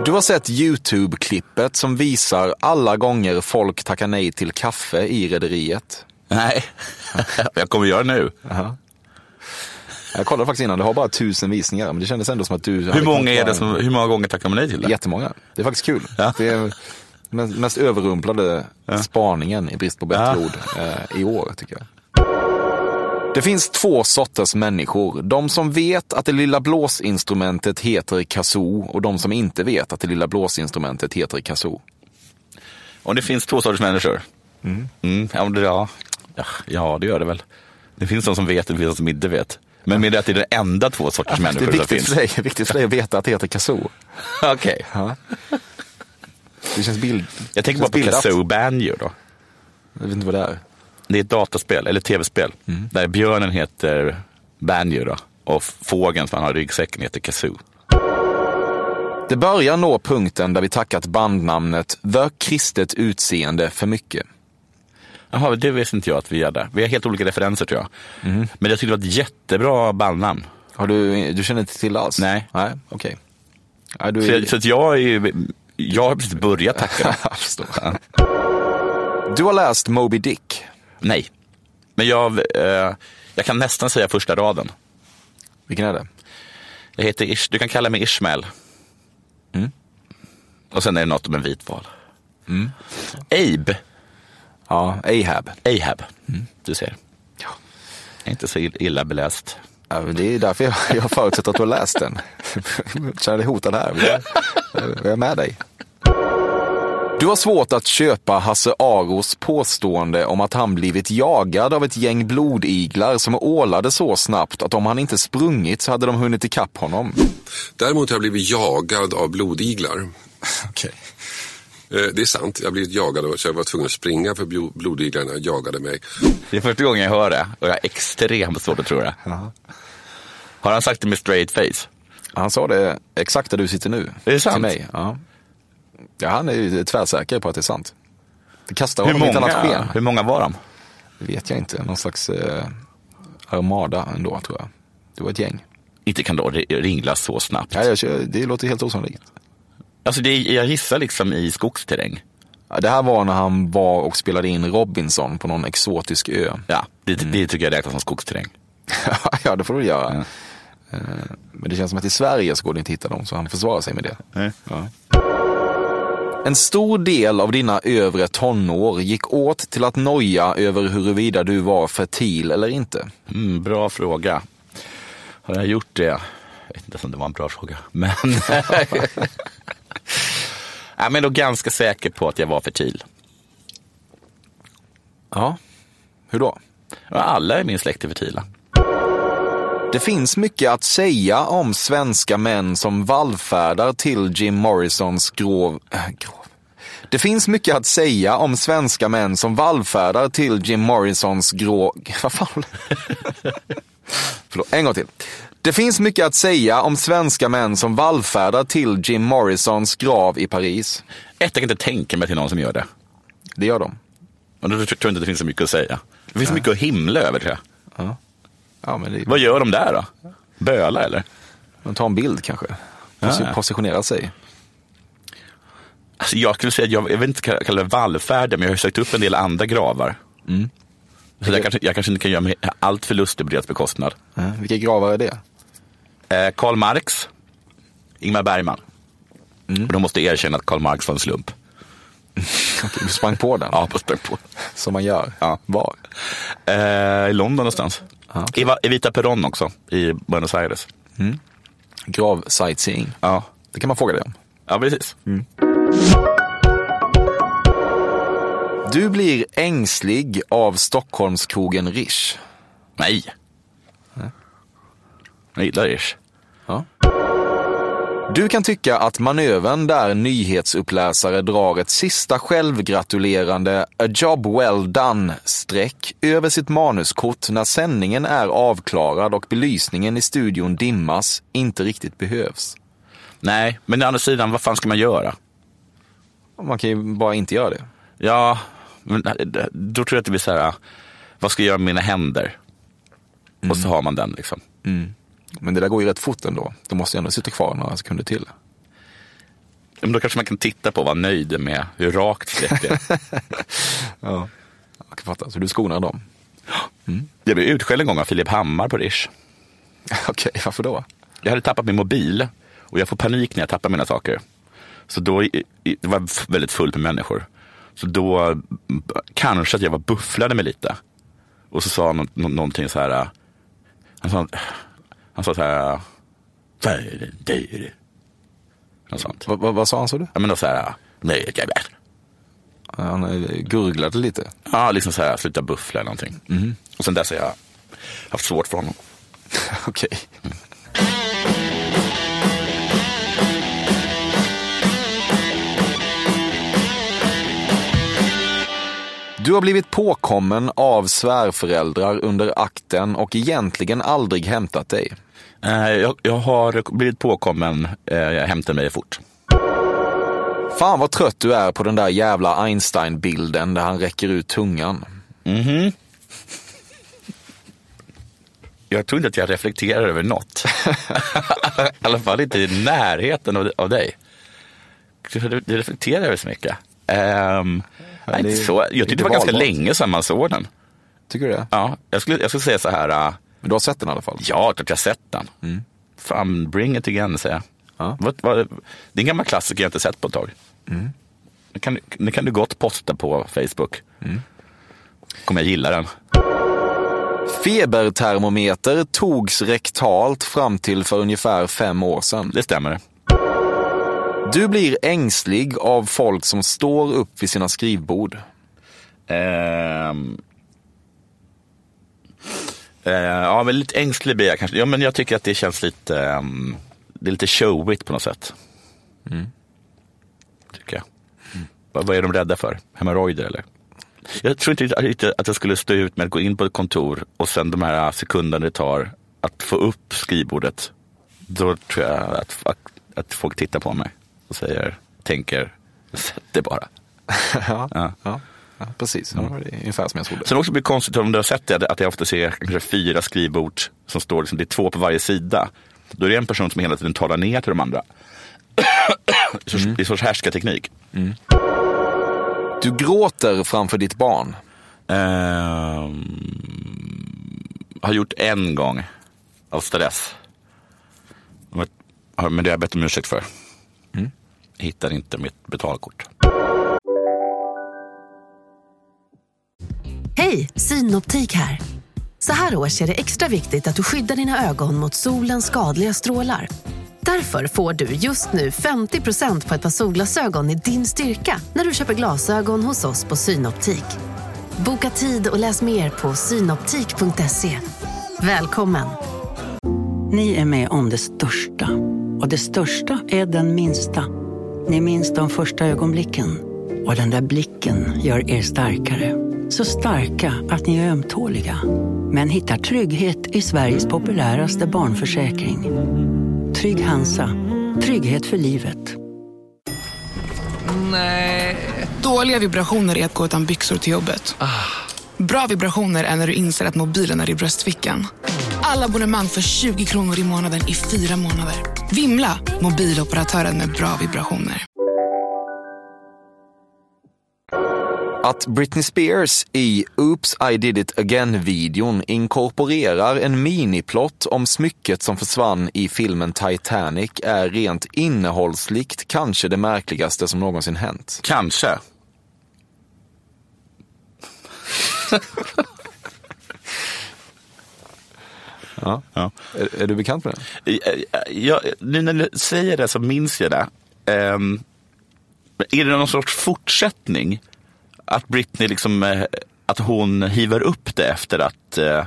Speaker 5: Du har sett YouTube-klippet som visar alla gånger folk tackar nej till kaffe i rederiet.
Speaker 6: Nej, jag kommer göra det nu.
Speaker 5: Jag kollade faktiskt innan, det har bara tusen visningar, men det kändes ändå som att du...
Speaker 6: Hur
Speaker 5: hade
Speaker 6: många, är
Speaker 5: kunnat
Speaker 6: det
Speaker 5: vara
Speaker 6: som, hur många gånger tackar man nej till
Speaker 5: en-
Speaker 6: det?
Speaker 5: Jättemånga. Det är faktiskt kul.
Speaker 6: Ja.
Speaker 5: Det är mest, mest överrumplade spaningen, i brist på bättre
Speaker 6: Ja.
Speaker 5: ord, eh, i år tycker jag. Det finns två sorters människor. De som vet att det lilla blåsinstrumentet heter kazoo och de som inte vet att det lilla blåsinstrumentet heter kazoo.
Speaker 6: Om det finns två sorters människor? Mm, ja, men det- ja. Ja, ja, det gör det väl. Det finns de som vet och det finns de som inte vet. Men med det att det är den enda två sorters
Speaker 5: Det
Speaker 6: människor
Speaker 5: är
Speaker 6: som
Speaker 5: viktigt för,
Speaker 6: finns.
Speaker 5: dig, viktigt för dig att veta att det heter kazoo.
Speaker 6: Okej.
Speaker 5: Ja. Det känns bild...
Speaker 6: Jag tänker
Speaker 5: det känns
Speaker 6: bara på
Speaker 5: bildat.
Speaker 6: Kazoo Banjo då.
Speaker 5: Jag vet inte vad det är.
Speaker 6: Det är ett dataspel, eller tv-spel,
Speaker 5: Mm.
Speaker 6: där björnen heter Banjo då. Och fågeln som han har i ryggsäcken heter Kazoo.
Speaker 5: Det börjar nå punkten där vi tackat bandnamnet The Kristet Utseende för mycket.
Speaker 6: Jaha, det visste inte jag att vi hade. Vi har helt olika referenser tror jag.
Speaker 5: Mm.
Speaker 6: Men jag tyckte det var ett jättebra bandnamn.
Speaker 5: Har du, du känner inte till det alls?
Speaker 6: Nej.
Speaker 5: Nej, okej. Nej, du
Speaker 6: Så,
Speaker 5: är...
Speaker 6: jag, så att jag, är, ju- jag har precis börjat tacka dem.
Speaker 5: Jag förstår. Du har läst Moby Dick.
Speaker 6: Nej. Men jag, eh, jag kan nästan säga första raden.
Speaker 5: Vilken är det?
Speaker 6: Jag heter Ish, du kan kalla mig Ishmael. Mm. Och sen är det något om en vitval. Abe.
Speaker 5: Ja, Ahab.
Speaker 6: Ahab. Mm. Du ser. Jag är inte så ill- illa beläst.
Speaker 5: Ja, men det är därför jag, jag förutsätter att du har läst den. Jag känner dig hotad här. Jag, jag är med dig. Du har svårt att köpa Hasse Aros påstående om att han blivit jagad av ett gäng blodiglar som ålade så snabbt att om han inte sprungit så hade de hunnit ikapp honom.
Speaker 10: Däremot har jag blivit jagad av blodiglar.
Speaker 5: Okej.
Speaker 10: Eh, Det är sant, jag har blivit jagad av- så jag var tvungen att springa för blo- blodiglarna jagade mig.
Speaker 6: Det är första gången jag hör det och jag har extremt svårt att tro det. Har han sagt det med straight face?
Speaker 5: Han sa det exakt där du sitter nu.
Speaker 6: Är det sant?
Speaker 5: Till mig. Ja. ja, han är ju tvärsäker på att det är sant. Det kastar
Speaker 6: Hur
Speaker 5: honom i ett annat sken.
Speaker 6: många, hur många var de?
Speaker 5: Det vet jag inte. Någon slags eh, armada ändå, tror jag. Det var ett gäng.
Speaker 6: Inte kan då ri- ringla så snabbt.
Speaker 5: Ja, jag, kör- det låter helt osannolikt.
Speaker 6: Alltså det är, jag gissar liksom i skogsterräng.
Speaker 5: Ja, Det här var när han var och spelade in Robinson på någon exotisk ö.
Speaker 6: Ja, det, det tycker jag räknas som skogsterräng.
Speaker 5: ja, det får du göra. Eh, Men det känns som att i Sverige så går det inte att hitta dem, så han försvarar sig med det. Ja. En stor del av dina övre tonår gick åt till att noja över huruvida du var fertil eller inte.
Speaker 6: Mm, bra fråga. Har jag gjort det? Jag vet inte ens om det var en bra fråga. Men, ja, men då ganska säker på att jag var fertil.
Speaker 5: Ja, hur då?
Speaker 6: Ja, Alla i min släkt är fertila.
Speaker 5: Det finns mycket att säga om svenska män som vallfärdar till Jim Morrisons grov... äh, grov. Det finns mycket att säga om svenska män som vallfärdar till Jim Morrisons grå... Vad fan? Förlåt, en gång till. Det finns mycket att säga om svenska män som vallfärdar till Jim Morrisons grav i Paris.
Speaker 6: Ett, jag kan inte tänka mig till någon som gör det.
Speaker 5: Det gör de.
Speaker 6: Och då tror jag inte det finns så mycket att säga. Det finns mycket att himla över tror jag.
Speaker 5: Ja, men det,
Speaker 6: Vad gör de där då? Böla eller?
Speaker 5: de tar en bild kanske.
Speaker 6: Ja,
Speaker 5: Posi-
Speaker 6: ja.
Speaker 5: Positionerar sig.
Speaker 6: Alltså, jag skulle säga, att jag, jag vill inte kalla kalla det vallfärden, men jag har ju sökt upp en del andra gravar. Så jag kanske, jag kanske inte kan göra mig allt för lustig på deras bekostnad.
Speaker 5: Ja, vilka gravar är det?
Speaker 6: Eh, Karl Marx, Ingmar Bergman. Och de måste erkänna att Karl Marx var en slump.
Speaker 5: Du sprang på den,
Speaker 6: Ja, på spring på.
Speaker 5: som man gör.
Speaker 6: Ja.
Speaker 5: Var?
Speaker 6: Eh, I London någonstans.
Speaker 5: Ja, okej.
Speaker 6: I Va- Evita Peron också, i Buenos Aires.
Speaker 5: Gravsightseeing.
Speaker 6: Ja,
Speaker 5: Det kan man fråga dig om.
Speaker 6: ja precis.
Speaker 5: Du blir ängslig av Stockholmskrogen Rish.
Speaker 6: Nej. Jag gillar Ish.
Speaker 5: Du kan tycka att manövern där nyhetsuppläsare drar ett sista självgratulerande “A job well done”-streck över sitt manuskort när sändningen är avklarad och belysningen i studion dimmas inte riktigt behövs.
Speaker 6: Nej, men å andra sidan, vad fan ska man göra?
Speaker 5: Man kan ju bara inte göra det.
Speaker 6: Ja, men eh, då tror jag att det blir så här, eh, vad ska jag göra med mina händer? Och så har man den liksom.
Speaker 5: Men det där går ju rätt fort ändå. De måste ju ändå sitta kvar några sekunder till.
Speaker 6: Men då kanske man kan titta på och vara nöjd med hur rakt streck det är.
Speaker 5: Jag kan fatta. Så du skonar dem.
Speaker 6: Jag blev utskälld en gång av Filip Hammar på Rish.
Speaker 5: Okej, varför då?
Speaker 6: Jag hade tappat min mobil och jag får panik när jag tappar mina saker. Så då, i- i- det var f- väldigt fullt med människor. Så då mm, b- kanske att jag var bufflade mig lite. Och så sa han nå- nå- någonting så här. äh, Han sa, han sa så här. äh, Vad är det, det är det?" Något sånt.
Speaker 5: Va, va, vad sa han, sa du?
Speaker 6: Ja men då så här. äh, Nej, jag vet.
Speaker 5: Han eh, gurglade lite.
Speaker 6: Ja, liksom så här, sluta buffla eller någonting. Och sen dess har jag haft svårt för honom.
Speaker 5: Okej. Du har blivit påkommen av svärföräldrar under akten och egentligen aldrig hämtat dig.
Speaker 6: Eh, Jag, jag har blivit påkommen, eh, jag hämtar mig fort.
Speaker 5: Fan vad trött du är på den där jävla Einstein-bilden där han räcker ut tungan.
Speaker 6: Jag tror inte att jag reflekterar över något. I alla fall inte i närheten av, av dig. Du, du reflekterar över så mycket. Ehm, nej,
Speaker 5: det är-
Speaker 6: inte så. Jag tyckte
Speaker 5: inte
Speaker 6: det var ganska
Speaker 5: valbart.
Speaker 6: länge sedan man såg den.
Speaker 5: Tycker du det?
Speaker 6: Ja, jag, skulle, jag skulle säga så här, äh,
Speaker 5: Men du har sett den i alla fall?
Speaker 6: ja, klart jag har sett den. Fan, bring it again, säger jag.
Speaker 5: Mm. Ja. Mm.
Speaker 6: Vad, vad, det är en gammal klassiker jag inte sett på ett tag. Den, kan, du- den kan du gott posta på Facebook.
Speaker 5: Mm.
Speaker 6: Kommer jag gilla den.
Speaker 5: Febertermometer togs rektalt fram till för ungefär fem år sedan.
Speaker 6: Det stämmer.
Speaker 5: Du blir ängslig av folk som står upp vid sina skrivbord.
Speaker 6: Ehm. Eh, ja, men lite ängslig blir jag kanske. Ja, men jag tycker att det känns lite, ehm, det är lite showigt på något sätt. Tycker jag. Vad, vad är de rädda för? Hemorrojder eller? Jag tror inte riktigt att jag skulle stå ut med att gå in på ett kontor och sen de här sekunderna det tar att få upp skrivbordet. Då tror jag att, att, att folk tittar på mig och säger, tänker, sätt det bara.
Speaker 5: Ja, Mm.
Speaker 6: Ja.
Speaker 5: ja, ja precis. Ja, det är ungefär som jag trodde.
Speaker 6: Sen också blir det konstigt om du har sett det, att jag ofta ser kanske fyra skrivbord som står, liksom, det är två på varje sida. Då är det en person som hela tiden talar ner till de andra. Det är en sorts härskarteknik.
Speaker 5: Du gråter framför ditt barn.
Speaker 6: Ehm, har gjort en gång av stress. Men- har- Men det har jag bett om ursäkt för. Mm. Hittar inte mitt betalkort.
Speaker 11: Hej, Synoptik här. Så här års är det extra viktigt att du skyddar dina ögon mot solens skadliga strålar. Därför får du just nu 50% på ett par solglasögon i din styrka när du köper glasögon hos oss på Synoptik. Boka tid och läs mer på synoptik.se. Välkommen!
Speaker 7: Ni är med om det största. Och det största är den minsta. Ni minns de första ögonblicken. Och den där blicken gör er starkare.
Speaker 12: Så starka att ni är ömtåliga. Men hittar trygghet i Sveriges populäraste barnförsäkring. Trygg Hansa. Trygghet för livet.
Speaker 13: Nej. Dåliga vibrationer är att gå utan byxor till jobbet. Bra vibrationer är när du inser att mobilen är i bröstfickan. Alla abonnemang för 20 kronor i månaden i fyra månader. Vimla! Mobiloperatören med bra vibrationer.
Speaker 5: Att Britney Spears i Oops I did it again-videon inkorporerar en miniplott om smycket som försvann i filmen Titanic är rent innehållsligt kanske det märkligaste som någonsin hänt.
Speaker 6: Kanske.
Speaker 5: Ja. Är, är du bekant med den?
Speaker 6: Jag, eh, nu när du säger det så minns jag det. Ehm, är det någon sorts fortsättning? Att Britney liksom, eh, att hon hivar upp det efter att eh,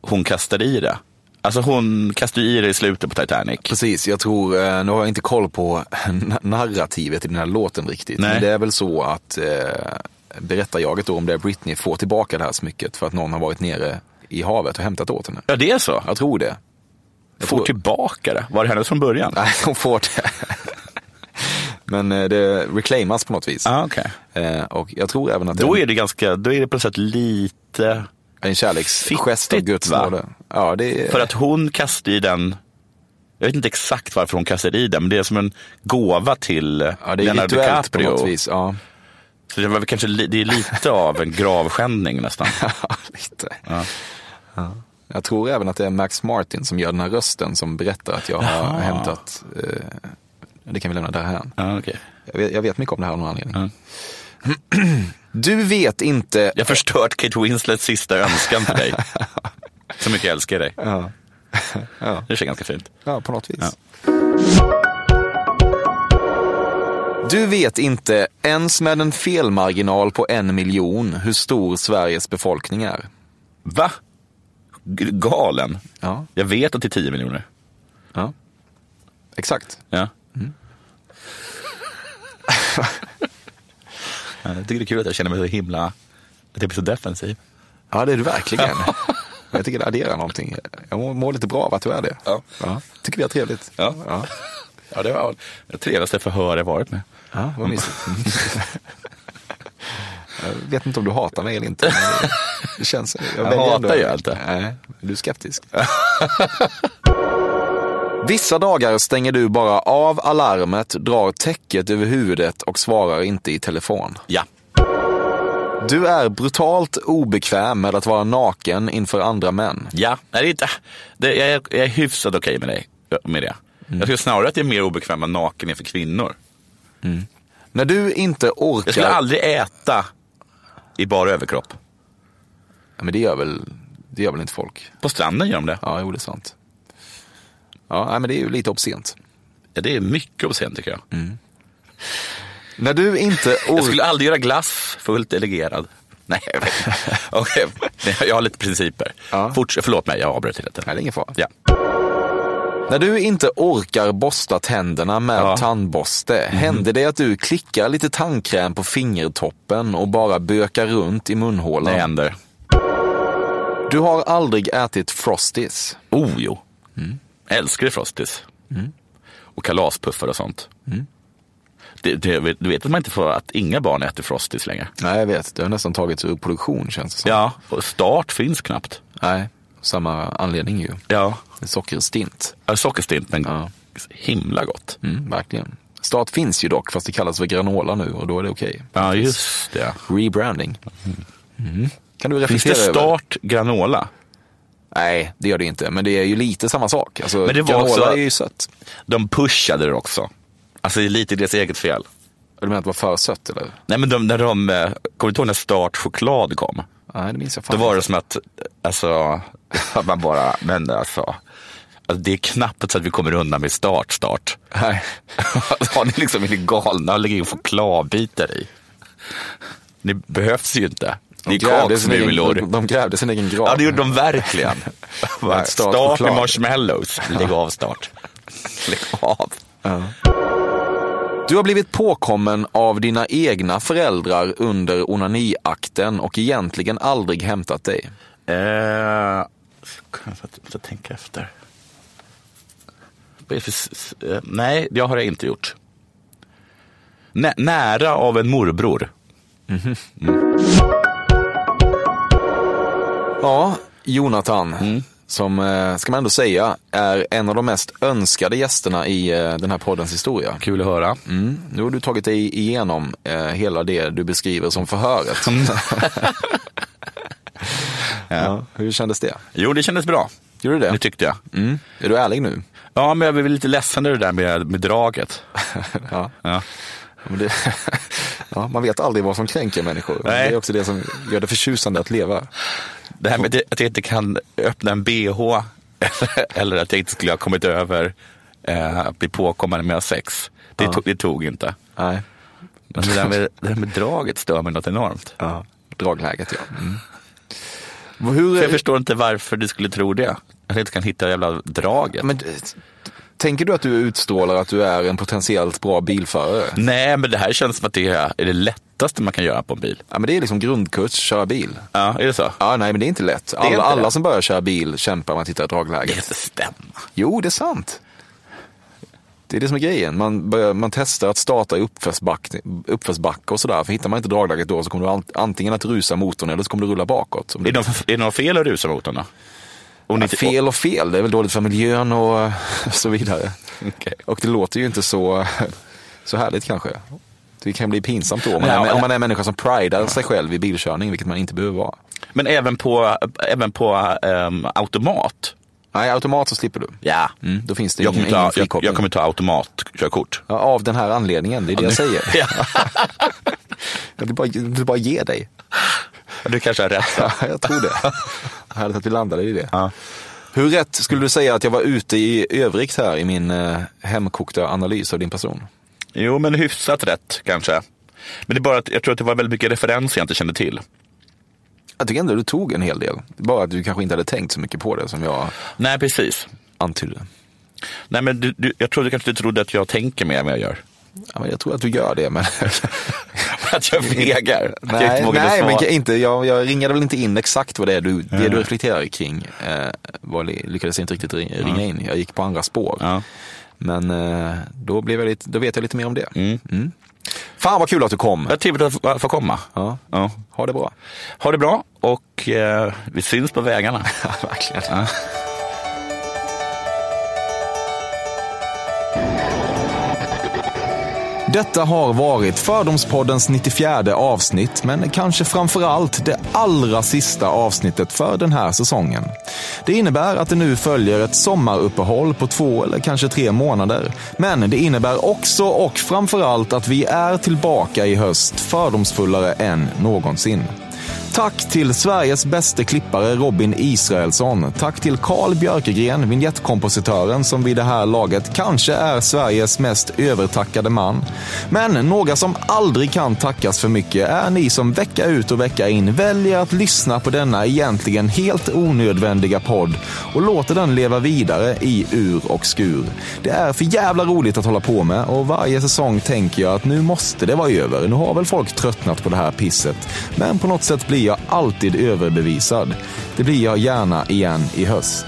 Speaker 6: hon kastar i det. Alltså hon kastar ju i det i slutet på Titanic.
Speaker 5: Precis, jag tror, eh, nu har jag inte koll på na- narrativet i den här låten riktigt.
Speaker 6: Nej.
Speaker 5: Men det är väl så att eh, berättarjaget då om det är Britney får tillbaka det här smycket för att någon har varit nere i havet och hämtat åt henne.
Speaker 6: Ja, det är så?
Speaker 5: Jag tror det.
Speaker 6: Får tillbaka det? Var det hennes från början?
Speaker 5: Nej, hon får det. Men eh, det reclaimas på något vis. Eh,
Speaker 6: Ah, okay.
Speaker 5: Och jag tror även att
Speaker 6: Då är det ganska, då är det på något sätt lite
Speaker 5: en kärleksgest av Guds nåde. Ja, det är-
Speaker 6: För att hon kastar i den, jag vet inte exakt varför hon kastar i den, men det är som en gåva till
Speaker 5: det är
Speaker 6: Leonardo
Speaker 5: rituellt på
Speaker 6: DiCaprio.
Speaker 5: något vis,
Speaker 6: Så det, var väl kanske, li- det är lite av en gravskändning nästan.
Speaker 5: lite. Jag tror även att det är Max Martin som gör den här rösten som berättar att jag har
Speaker 6: Jaha.
Speaker 5: hämtat. Eh, det kan vi lämna därhän. Jag, vet, jag vet mycket om det här av någon anledning. Du vet inte...
Speaker 6: Jag har förstört Kate Winslets sista önskan för dig. Så mycket jag älskar dig. Det känns ganska fint.
Speaker 5: Ja, på något vis. Du vet inte, ens med en felmarginal på en miljon, hur stor Sveriges befolkning är.
Speaker 6: Va? G- Galen.
Speaker 5: Ja.
Speaker 6: Jag vet att det är 10 miljoner.
Speaker 5: Ja. Exakt.
Speaker 6: Ja. Ja, jag tycker det är kul att jag känner mig så himla, att jag blir så defensiv.
Speaker 5: Ja, det är du verkligen. Jag tycker det adderar någonting. Jag mår, mår lite bra av att du är det. Ja. Tycker vi är trevligt.
Speaker 6: Ja, ja. det var det trevligaste förhör jag varit med.
Speaker 5: Ja, vad mysigt. Jag vet inte om du hatar mig eller inte. men Det känns,
Speaker 6: Jag
Speaker 5: väljer ändå-
Speaker 6: hatar ju inte.
Speaker 5: Nej, du är skeptisk. Vissa dagar stänger du bara av alarmet, drar täcket över huvudet och svarar inte i telefon.
Speaker 6: Ja.
Speaker 5: Du är brutalt obekväm med att vara naken inför andra män.
Speaker 6: Ja, nej, det är inte, det, jag, är- jag är hyfsat okej med, dig, med det. Jag skulle snarare att jag är mer obekväm med naken inför kvinnor.
Speaker 5: När du inte orkar...
Speaker 6: Jag skulle aldrig äta i bara överkropp.
Speaker 5: Ja, men det gör, väl, det gör väl inte folk?
Speaker 6: På stranden gör de det.
Speaker 5: Ja, jo, det är sant. Ja, nej, men det är ju lite obscent.
Speaker 6: Ja, det är mycket obscent tycker jag.
Speaker 5: När du inte
Speaker 6: Jag
Speaker 5: orkar...
Speaker 6: skulle aldrig göra glass fullt elegerad. Nej, jag vet inte. Okej, nej, jag har lite principer. Forts- förlåt mig, jag avbröt hela tiden.
Speaker 5: Nej, det är ingen fara.
Speaker 6: Ja.
Speaker 5: När du inte orkar borsta tänderna med tandborste, händer det att du klickar lite tandkräm på fingertoppen och bara bökar runt i munhålan?
Speaker 6: Det händer.
Speaker 5: Du har aldrig ätit Frosties.
Speaker 6: Oh jo. Älskar frostis. Och kalaspuffar och sånt. Det, det, du vet att man inte får, att inga barn äter frostis längre.
Speaker 5: Nej, jag vet. Det har nästan tagits ur produktion känns det som.
Speaker 6: Ja, och start finns knappt.
Speaker 5: Nej, samma anledning ju.
Speaker 6: Ja.
Speaker 5: Sockerstint.
Speaker 6: Ja, Sockerstint, men himla gott.
Speaker 5: Mm, verkligen. Start finns ju dock, fast det kallas för granola nu och då är det okej.
Speaker 6: Ja, just det.
Speaker 5: Rebranding. Mm. Kan du
Speaker 6: Finns
Speaker 5: reflektera
Speaker 6: det
Speaker 5: över?
Speaker 6: start granola?
Speaker 5: Nej, det gör det inte. Men det är ju lite samma sak. Alltså,
Speaker 6: Men det var
Speaker 5: granola
Speaker 6: också-
Speaker 5: är ju sött.
Speaker 6: De pushade det också. Alltså det är lite deras eget fel.
Speaker 5: Du menar att det var för sött eller?
Speaker 6: Nej men de, när de, eh, kommer du ihåg när start choklad kom?
Speaker 5: Nej, det minns jag fan
Speaker 6: Då var det
Speaker 5: inte.
Speaker 6: som att, alltså, att man bara, men alltså, alltså, det är knappt så att vi kommer undan med start, start.
Speaker 5: Nej.
Speaker 6: Har ni liksom, är ni galna och lägger in chokladbitar i? Ni behövs ju inte. Ni är
Speaker 5: grävde sin egen-
Speaker 6: kaksmulor.
Speaker 5: de- De grävde sin egen grav.
Speaker 6: Ja, det gjorde de verkligen.
Speaker 5: Bara,
Speaker 6: Bara,
Speaker 5: start
Speaker 6: start med
Speaker 5: choklad.
Speaker 6: marshmallows. Lägg av start. Lägg av.
Speaker 5: Du har blivit påkommen av dina egna föräldrar under onaniakten och egentligen aldrig hämtat dig.
Speaker 6: Eh, kanske att jag måste tänka efter. Vad är det för s- s- eh, Nej, det har jag inte gjort. Nä, nära av en morbror.
Speaker 5: Ja, Jonathan,
Speaker 6: Mm.
Speaker 5: som eh, ska man ändå säga är en av de mest önskade gästerna i eh, den här poddens historia.
Speaker 6: Kul att höra.
Speaker 5: Mm. Nu har du tagit dig igenom eh, hela det du beskriver som förhöret.
Speaker 6: Mm.
Speaker 5: ja, hur kändes det?
Speaker 6: Jo, det kändes bra.
Speaker 5: Gjorde det?
Speaker 6: Det tyckte jag.
Speaker 5: Är du ärlig nu?
Speaker 6: Ja, men jag blev lite ledsen över det där med, med draget.
Speaker 5: Ja.
Speaker 6: Ja.
Speaker 5: Men det, ja, man vet aldrig vad som kränker människor. Men
Speaker 6: Nej.
Speaker 5: Det är också det som gör det förtjusande att leva.
Speaker 6: Det här med att jag inte kan öppna en bh eller att jag inte skulle ha kommit över eh, att bli påkommen med sex. Det,
Speaker 5: Ja.
Speaker 6: tog, det tog inte.
Speaker 5: Nej.
Speaker 6: Men det där, med, det där med draget stör mig något enormt.
Speaker 5: Ja. Dragläget, ja. Mm.
Speaker 6: För jag förstår inte varför du skulle tro det. Att jag inte kan hitta jävla draget.
Speaker 5: Men, eh, tänker du att du utstrålar att du är en potentiellt bra bilförare?
Speaker 6: Nej, men det här känns som att det är är det lättaste man kan göra på en bil.
Speaker 5: Ja, men det är liksom grundkurs, köra bil.
Speaker 6: Ja, är det så?
Speaker 5: Ja, nej, men det är inte lätt. Alla,
Speaker 6: inte
Speaker 5: alla
Speaker 6: lätt.
Speaker 5: som börjar köra bil kämpar med att hitta dragläget.
Speaker 6: Det kan inte stämma.
Speaker 5: Jo, det är sant. Det är det som är grejen. Man, börjar, man testar att starta i uppförsback, uppförsbacke och sådär. För hittar man inte dragläget då så kommer du an- antingen att rusa motorn eller så kommer du rulla bakåt. Om
Speaker 6: Är
Speaker 5: det
Speaker 6: det något- är det något fel att rusa mot den då? Om ni
Speaker 5: ja,
Speaker 6: inte-
Speaker 5: fel och fel, det är väl dåligt för miljön och så vidare.
Speaker 6: Okej.
Speaker 5: Och det låter ju inte så, så härligt kanske. Det kan bli pinsamt då om man,
Speaker 6: Ja,
Speaker 5: är, om
Speaker 6: men-
Speaker 5: man är en människa som pridar sig själv i bilkörning, vilket man inte behöver vara.
Speaker 6: Men även på, även på ehm, automat?
Speaker 5: Nej, automat så slipper du.
Speaker 6: Ja.
Speaker 5: Mm, då finns det
Speaker 6: Jag
Speaker 5: ingen,
Speaker 6: kommer, ta,
Speaker 5: ingen
Speaker 6: jag,
Speaker 5: frikoppling.
Speaker 6: jag kommer ta automatkörkort.
Speaker 5: Ja, av den här anledningen, det är det jag säger.
Speaker 6: Ja.
Speaker 5: Jag vill bara, jag vill bara ge dig.
Speaker 6: Du kanske har rätt.
Speaker 5: Ja, jag tror det. Härligt att vi landade i det.
Speaker 6: Ja.
Speaker 5: Hur rätt skulle du säga att jag var ute i övrigt här i min eh, hemkokta analys av din person?
Speaker 6: Jo, men hyfsat rätt kanske. Men det är bara att jag tror att det var väldigt mycket referenser jag inte kände till.
Speaker 5: Jag tycker ändå du tog en hel del. Bara att du kanske inte hade tänkt så mycket på det som jag
Speaker 6: Nej, precis.
Speaker 5: antydde.
Speaker 6: Nej, men du, du, jag trodde kanske du trodde att jag tänker mer än vad jag gör.
Speaker 5: Ja, men jag tror att du gör det, men...
Speaker 6: att jag fegar. att jag
Speaker 5: nej,
Speaker 6: inte vågade
Speaker 5: nej
Speaker 6: svara.
Speaker 5: men kan- inte, jag, jag ringade väl inte in exakt vad det är du, det du reflekterar kring. Eh, var, lyckades jag inte riktigt ring- ringa in. Jag gick på andra spår.
Speaker 6: Ja.
Speaker 5: Men eh, då, blev jag lite, då vet jag lite mer om det.
Speaker 6: Mm.
Speaker 5: Mm. Fan vad kul att du kom.
Speaker 6: Vad trevligt att få- få komma.
Speaker 5: Ja.
Speaker 6: Ja.
Speaker 5: Ha det bra.
Speaker 6: Ha det bra och eh, vi syns på vägarna.
Speaker 5: Verkligen.
Speaker 6: Ja.
Speaker 5: Detta har varit Fördomspoddens 94 avsnitt, men kanske framför allt det allra sista avsnittet för den här säsongen. Det innebär att det nu följer ett sommaruppehåll på två eller kanske tre månader. Men det innebär också och framför allt att vi är tillbaka i höst fördomsfullare än någonsin. Tack till Sveriges bästa klippare Robin Israelsson. Tack till Carl Björkegren, vignettkompositören som vid det här laget kanske är Sveriges mest övertackade man. Men några som aldrig kan tackas för mycket är ni som vecka ut och vecka in väljer att lyssna på denna egentligen helt onödvändiga podd och låter den leva vidare i ur och skur. Det är för jävla roligt att hålla på med och varje säsong tänker jag att nu måste det vara över. Nu har väl folk tröttnat på det här pisset. Men på något sätt blir jag alltid överbevisad. Det blir jag gärna igen i höst.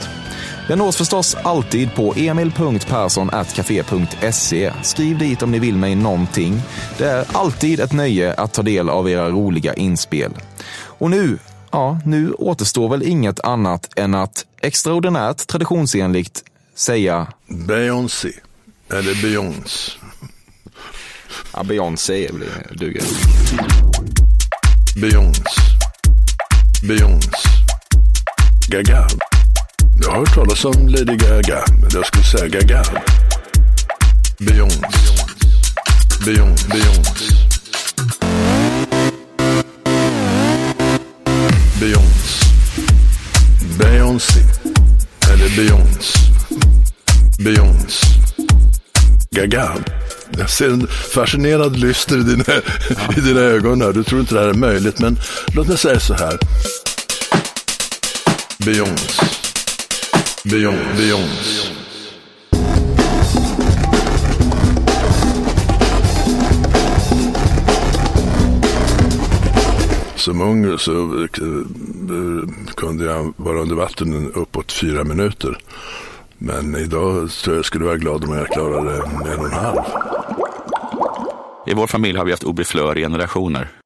Speaker 5: Jag nås förstås alltid på emil.perssonatcafe.se. Skriv dit om ni vill mig någonting. Det är alltid ett nöje att ta del av era roliga inspel. Och nu, ja, nu återstår väl inget annat än att extraordinärt traditionsenligt säga
Speaker 14: Beyoncé. Eller Beyoncé.
Speaker 5: ja, Beyoncé duger.
Speaker 14: Beyoncé. Beyoncé. Gaga. Jag har hört talas om Lady Gaga, men jag skulle säga Gaga. Beyoncé. Beyoncé. Beyoncé. Beyoncé. Beyoncé. Eller Beyoncé. Beyoncé. Gaga. Jag ser en fascinerad lyster i dina, i dina ögon här. Du tror inte det här är möjligt, men låt mig säga så här. Beyoncé. Beyoncé. Beyoncé.
Speaker 9: som ung så eh, kunde jag vara under vatten uppåt fyra minuter. Men idag tror jag skulle vara glad om jag klarade en och en halv.
Speaker 6: I vår familj har vi haft Obi Flör i generationer.